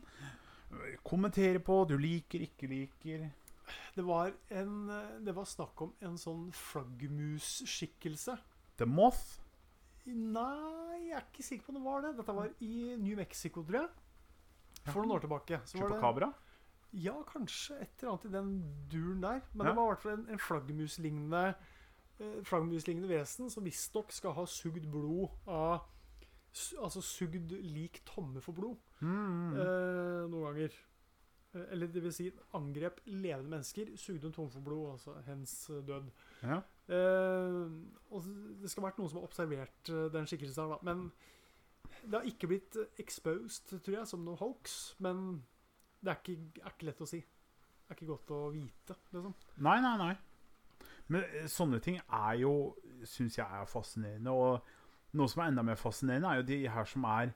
øh, kommentere på? Du liker, ikke liker?
Det var, en, eh, det var snakk om en sånn flaggermusskikkelse.
The Moth?
Nei, jeg er ikke sikker på om det var det. Dette var i New Mexico, tror jeg. For noen år tilbake. Så var det,
Chupacabra?
ja, kanskje et eller annet i den duren der. Men
Ja.
det var i hvert fall en, en flaggermuslignende eh, flaggermuslignende vesen som visstnok skal ha sugd blod av su- Altså sugd lik tomme for blod.
Mm.
eh, noen ganger. Eh, Eller det vil si, angrep levende mennesker, sugde hun tom for blod, altså hens eh, død.
Ja.
Eh, og s- det skal ha vært noen som har observert eh, den skikkelsen her, da. Men det har ikke blitt eh, exposed, tror jeg, som noe hoax. Men det er ikke, er ikke lett å si. Det er ikke godt å vite, liksom.
Nei, nei, nei. Men eh, sånne ting er jo Syns jeg er fascinerende. Og noe som er enda mer fascinerende, er jo de her som er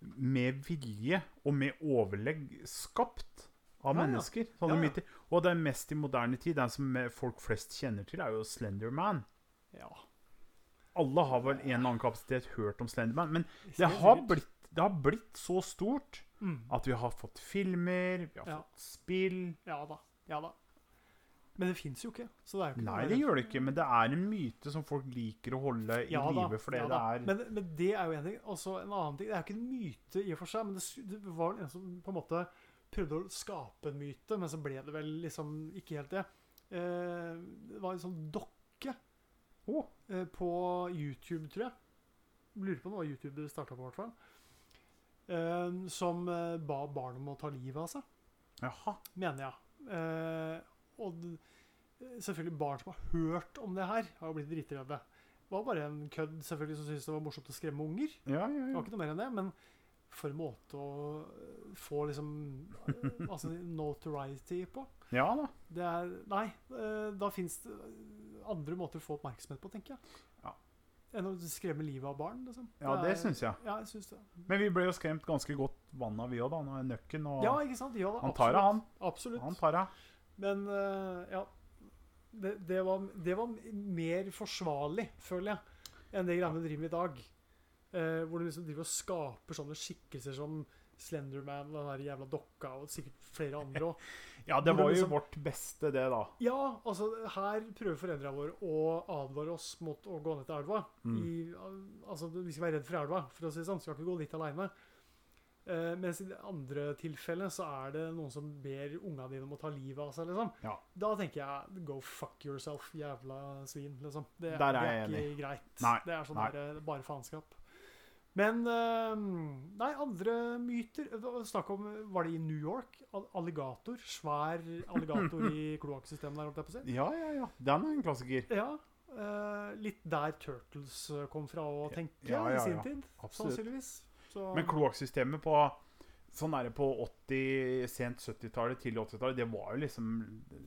med vilje og med overlegg skapt
Ja,
av
ja.
mennesker. Sånne
Ja, ja.
myter. Og det mest i moderne tid, den som eh, folk flest kjenner til, er jo Slenderman.
Ja.
Alle har vel en eller annen kapasitet hørt om Slenderman, men det
helt
har
sikkert.
blitt, det har blitt så stort
Mm.
at vi har fått filmer, vi har
Ja.
fått spill
Ja da. Ja da. Men det fins jo ikke. Så det er jo ikke noe
Nei,
å
det
være
gjør det ikke, men det er en myte som folk liker å holde eh, i
Ja da,
live. For
ja
det
da.
er
men, men det er jo en ting. Og så en annen ting. Det er jo ikke en myte i og for seg, men det, s- det var vel en som på en måte prøvde å skape en myte, men så ble det vel liksom ikke helt det. Eh, det var en sånn dokke
Å,
eh, på YouTube, tror jeg. lurer på om det var YouTube det starta på, i hvert fall. eh, som eh, ba barn om å ta livet av seg,
Jaha.
mener jeg. Eh, og d- selvfølgelig barn som har hørt om det her, har jo blitt dritredde. Det var bare en kødd selvfølgelig som syntes det var morsomt å skremme unger.
Ja, ja,
Det
ja.
var ikke noe mer enn det, men for en måte å eh, få liksom eh, altså notoriety på.
ja da.
Det er Nei, eh, da fins det eh, andre måter å få oppmerksomhet på, tenker jeg.
Ja.
Enn å skremme livet av barn, liksom.
Ja, det
er-
syns jeg.
Ja, jeg syns det.
Men vi ble jo skremt ganske godt vann av vi òg, da. Nå er nøkken og
Ja, ikke sant? Ja, da,
Han tar det, han.
Absolutt.
Han tar det.
Men eh, ja. Det, det, var, det var mer forsvarlig, føler jeg, enn det greiene vi driver med i dag. Eh, hvor du liksom driver og skaper sånne skikkelser som Slenderman og den der jævla dokka og sikkert flere andre òg.
Ja, det
Hvordan
var jo
liksom-
vårt beste, det, da.
Ja, altså, her prøver foreldra våre å advare oss mot å gå ned til elva.
Mm.
I, altså, vi skal være redd for elva, for å si det sånn. Skal ikke gå dit aleine. Eh, mens i det andre tilfellet så er det noen som ber unga dine om å ta livet av seg, liksom.
Ja.
Da tenker jeg go fuck yourself, jævla svin, liksom. Det,
Der er
det
jeg
er ikke
enig.
greit.
Nei,
Det er sånn
nei.
der, eh, bare faenskap. Men eh, Nei, andre myter Det var Snakk om Var det i New York? Al- Alligator? Svær alligator
<laughs>
i kloakksystemet der, holdt jeg på å si.
ja, ja, ja. Den er en klassiker.
Ja. eh, litt der Turtles eh, kom fra å tenke
Ja, ja,
i sin
ja.
tid,
Absolutt.
sannsynligvis. Så,
Men kloakksystemet på sånn er det på 80, sent 70-tallet, tidlig 80-tallet, det var jo liksom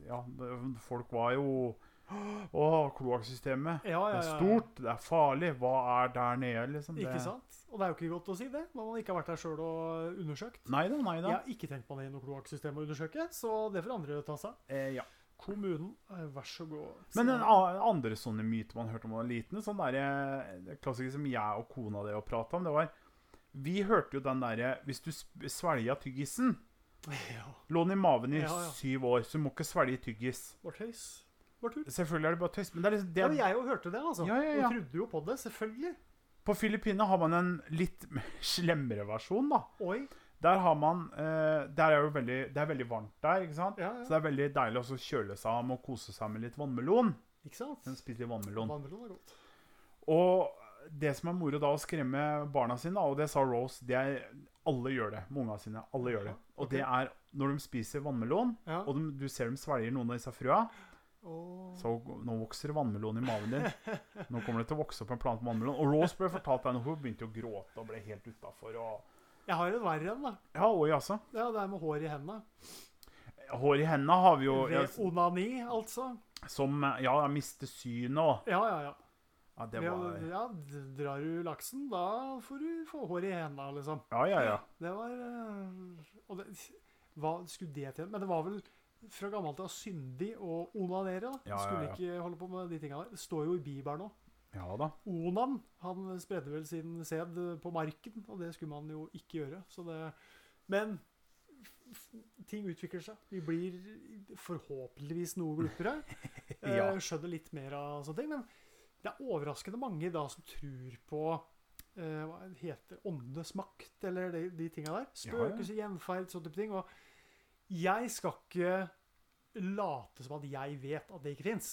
Ja, det- folk var jo Å, kloakksystemet.
ja, ja, ja,
Det er
ja.
stort, det er farlig. Hva er der nede, liksom? Det...
Ikke sant? Og det er jo ikke godt å si det, når man ikke har vært der sjøl og undersøkt.
Nei da, nei da.
Jeg har ikke tenkt på det i noe kloakksystem å undersøke, så det får andre ta seg.
Eh, ja.
Kommunen, eh, vær så god.
Men
Så-
en a- andre sånne myter man hørte om da man var liten, sånn der, det klassiker som jeg og kona dere prata om, det var Vi hørte jo den derre Hvis du sp- svelga tyggisen
ja.
Lå den i maven i
Ja, ja.
syv år, så du må ikke svelge tyggis.
Var tøys. Var tull.
Selvfølgelig er det bare tøys, men det er liksom det
Ja, men jeg jo hørte det, altså.
Ja, ja, ja.
Og trodde jo på det, selvfølgelig.
På Filippinene har man en litt <laughs> slemmere versjon, da.
Oi.
Der har man eh, der er jo veldig, Det er veldig varmt der, ikke sant?
Ja,
Så
ja.
det er veldig deilig også å kjøle seg av med å kose seg med litt vannmelon.
Ikke sant?
Den spiser litt vannmelon.
Vannmelon er godt.
Og det som er moro da, å skremme barna sine, og det sa Rose det er, Alle gjør det med ungene sine. Alle gjør det. Og det er når de spiser vannmelon,
Ja.
og de, du ser de svelger noen av disse frøa,
Og...
Så nå vokser det vannmelon i maven din. Nå kommer det til å vokse opp en plante med vannmelon. Og Rose ble fortalt det, og hun begynte å gråte og ble helt utafor. Og...
Jeg har en verre en, da.
Ja, oi, altså.
Ja, det er med hår i hendene.
Hår i hendene har vi jo ja,
Ved onani, altså.
Som Ja, jeg mister synet og
Ja, ja, ja.
Ja, det
Ved å-
var
ja, d- drar du laksen, da får du få hår i hendene, liksom.
Ja, ja, ja.
Det var eh, Og det, hva skulle det til? Men det var vel fra gammelt av syndig å onanere, da.
Ja, ja,
Skulle
ja.
ikke holde på med de tinga der. Det står jo i Bibelen òg.
Ja da.
Onan han spredde vel sin sæd på marken, og det skulle man jo ikke gjøre. Så det, men f- f- ting utvikler seg. Vi blir forhåpentligvis noe
<laughs>
glupere.
Ja.
eh, Skjønner litt mer av sånne ting. Men det er overraskende mange da som tror på eh, hva det heter åndenes makt, eller de, de tinga der.
Ja, ja.
Spøkelser, gjenferd, sånne type ting. Og jeg skal ikke late som at jeg vet at det ikke fins.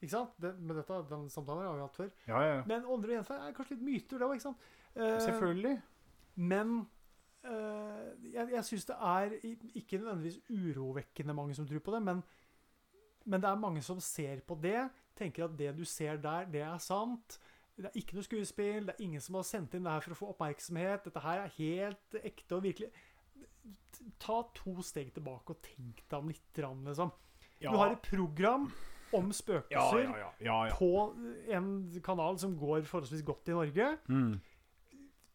Ikke sant? Det, men dette, den samtalen har vi hatt før.
Ja, ja, ja.
Men ånder og gjenferd er kanskje litt myter, det òg, ikke sant? Eh,
Selvfølgelig.
Men eh, jeg, jeg syns det er i- ikke nødvendigvis urovekkende mange som tror på det, men, men det er mange som ser på det, tenker at det du ser der, det er sant. Det er ikke noe skuespill, det er ingen som har sendt inn det her for å få oppmerksomhet. Dette her er helt ekte og virkelig. Ta to steg tilbake og tenk deg om litt, grann, liksom.
Ja.
Du har et program om spøkelser
ja, ja, ja, ja, ja.
på en kanal som går forholdsvis godt i Norge.
Mm.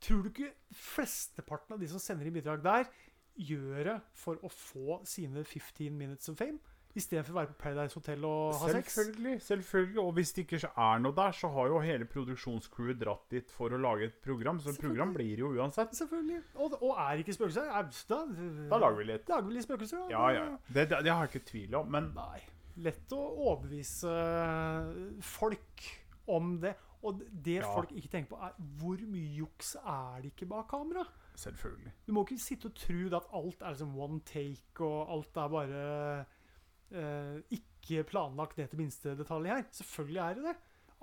Tror du ikke flesteparten av de som sender inn bidrag der, gjør det for å få sine 15 minutes of fame? Istedenfor å være på Paradise Hotel og ha sex?
Selvfølgelig. selvfølgelig. Og hvis det ikke er noe der, så har jo hele produksjonscrewet dratt dit for å lage et program, så et program blir jo uansett.
Selvfølgelig. Og, og er ikke spøkelser er- da,
Da lager vi litt.
lager vi litt spøkelser, da.
Ja, ja. ja. Det, det, det har jeg ikke tvil om, men
Nei. Lett å overbevise eh, folk om det. Og det
Ja.
folk ikke tenker på, er hvor mye juks er det ikke bak kamera?
selvfølgelig.
Du må ikke sitte og tro at alt er liksom one take, og alt er bare eh, ikke planlagt ned til minste detalj her. Selvfølgelig er det det.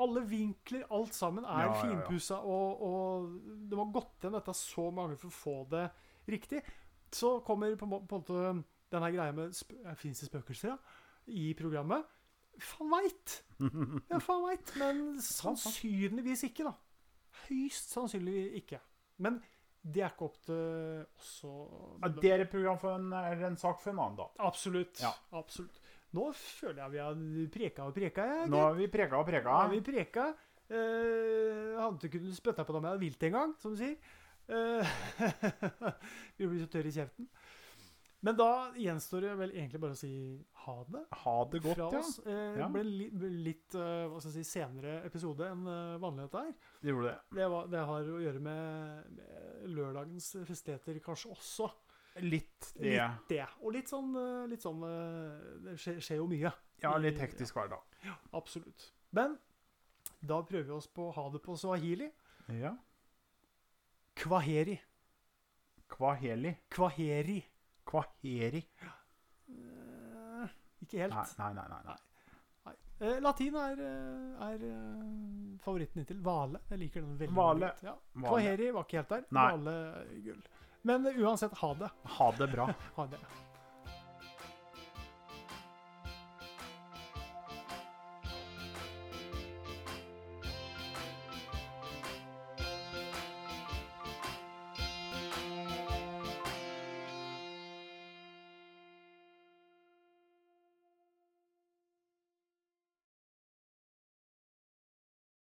Alle vinkler, alt sammen, er
Ja, ja, ja.
finpussa. Og, og det var gått igjen dette så mange for å få det riktig. Så kommer på en må- på en måte denne greia med sp Fins det spøkelser, ja? I programmet. Faen
<laughs>
veit! Ja, faen veit. Men sannsynligvis ikke, da. Høyst sannsynlig ikke. Men det er ikke opp til oss å
Ja, det er et program for en, eller en sak for en annen, da.
Absolutt.
Ja.
Absolutt. Nå føler jeg vi har preka og preka. Jeg,
Nå har vi preka og preka.
ja, vi preka. Eh, hadde ikke kunnet spytte på dem jeg hadde vilt en gang, som du sier. Eh, <laughs> vi blir så tørre i kjeften. Men da gjenstår det vel egentlig bare å si ha det.
Ha det
fra
godt, ja.
oss. Eh, Det
Ja.
ble li litt eh, hva skal jeg si, senere episode enn eh, vanlig dette her.
Det gjorde det.
Det, var, det har å gjøre med, med lørdagens festligheter kanskje også.
Litt det.
Litt det. Og litt sånn, eh, litt sånn eh, Det skjer, skjer jo mye.
Ja, litt hektisk hverdag.
Absolutt. Men da prøver vi oss på å ha det på swahili.
Ja.
Kvaheri.
Kvaheli.
Kvaheri.
Kvaheri.
Eh, ikke helt.
Nei, nei, nei. nei, nei.
Eh, latin er, eh, er eh, favoritten inntil. Hvale. Jeg liker den veldig
Hvale.
godt. Ja.
Hvale.
Kvaheri var ikke helt der.
Nei.
Hvale eh, gull. Men eh, uansett, ha det.
Ha det bra.
Ha det.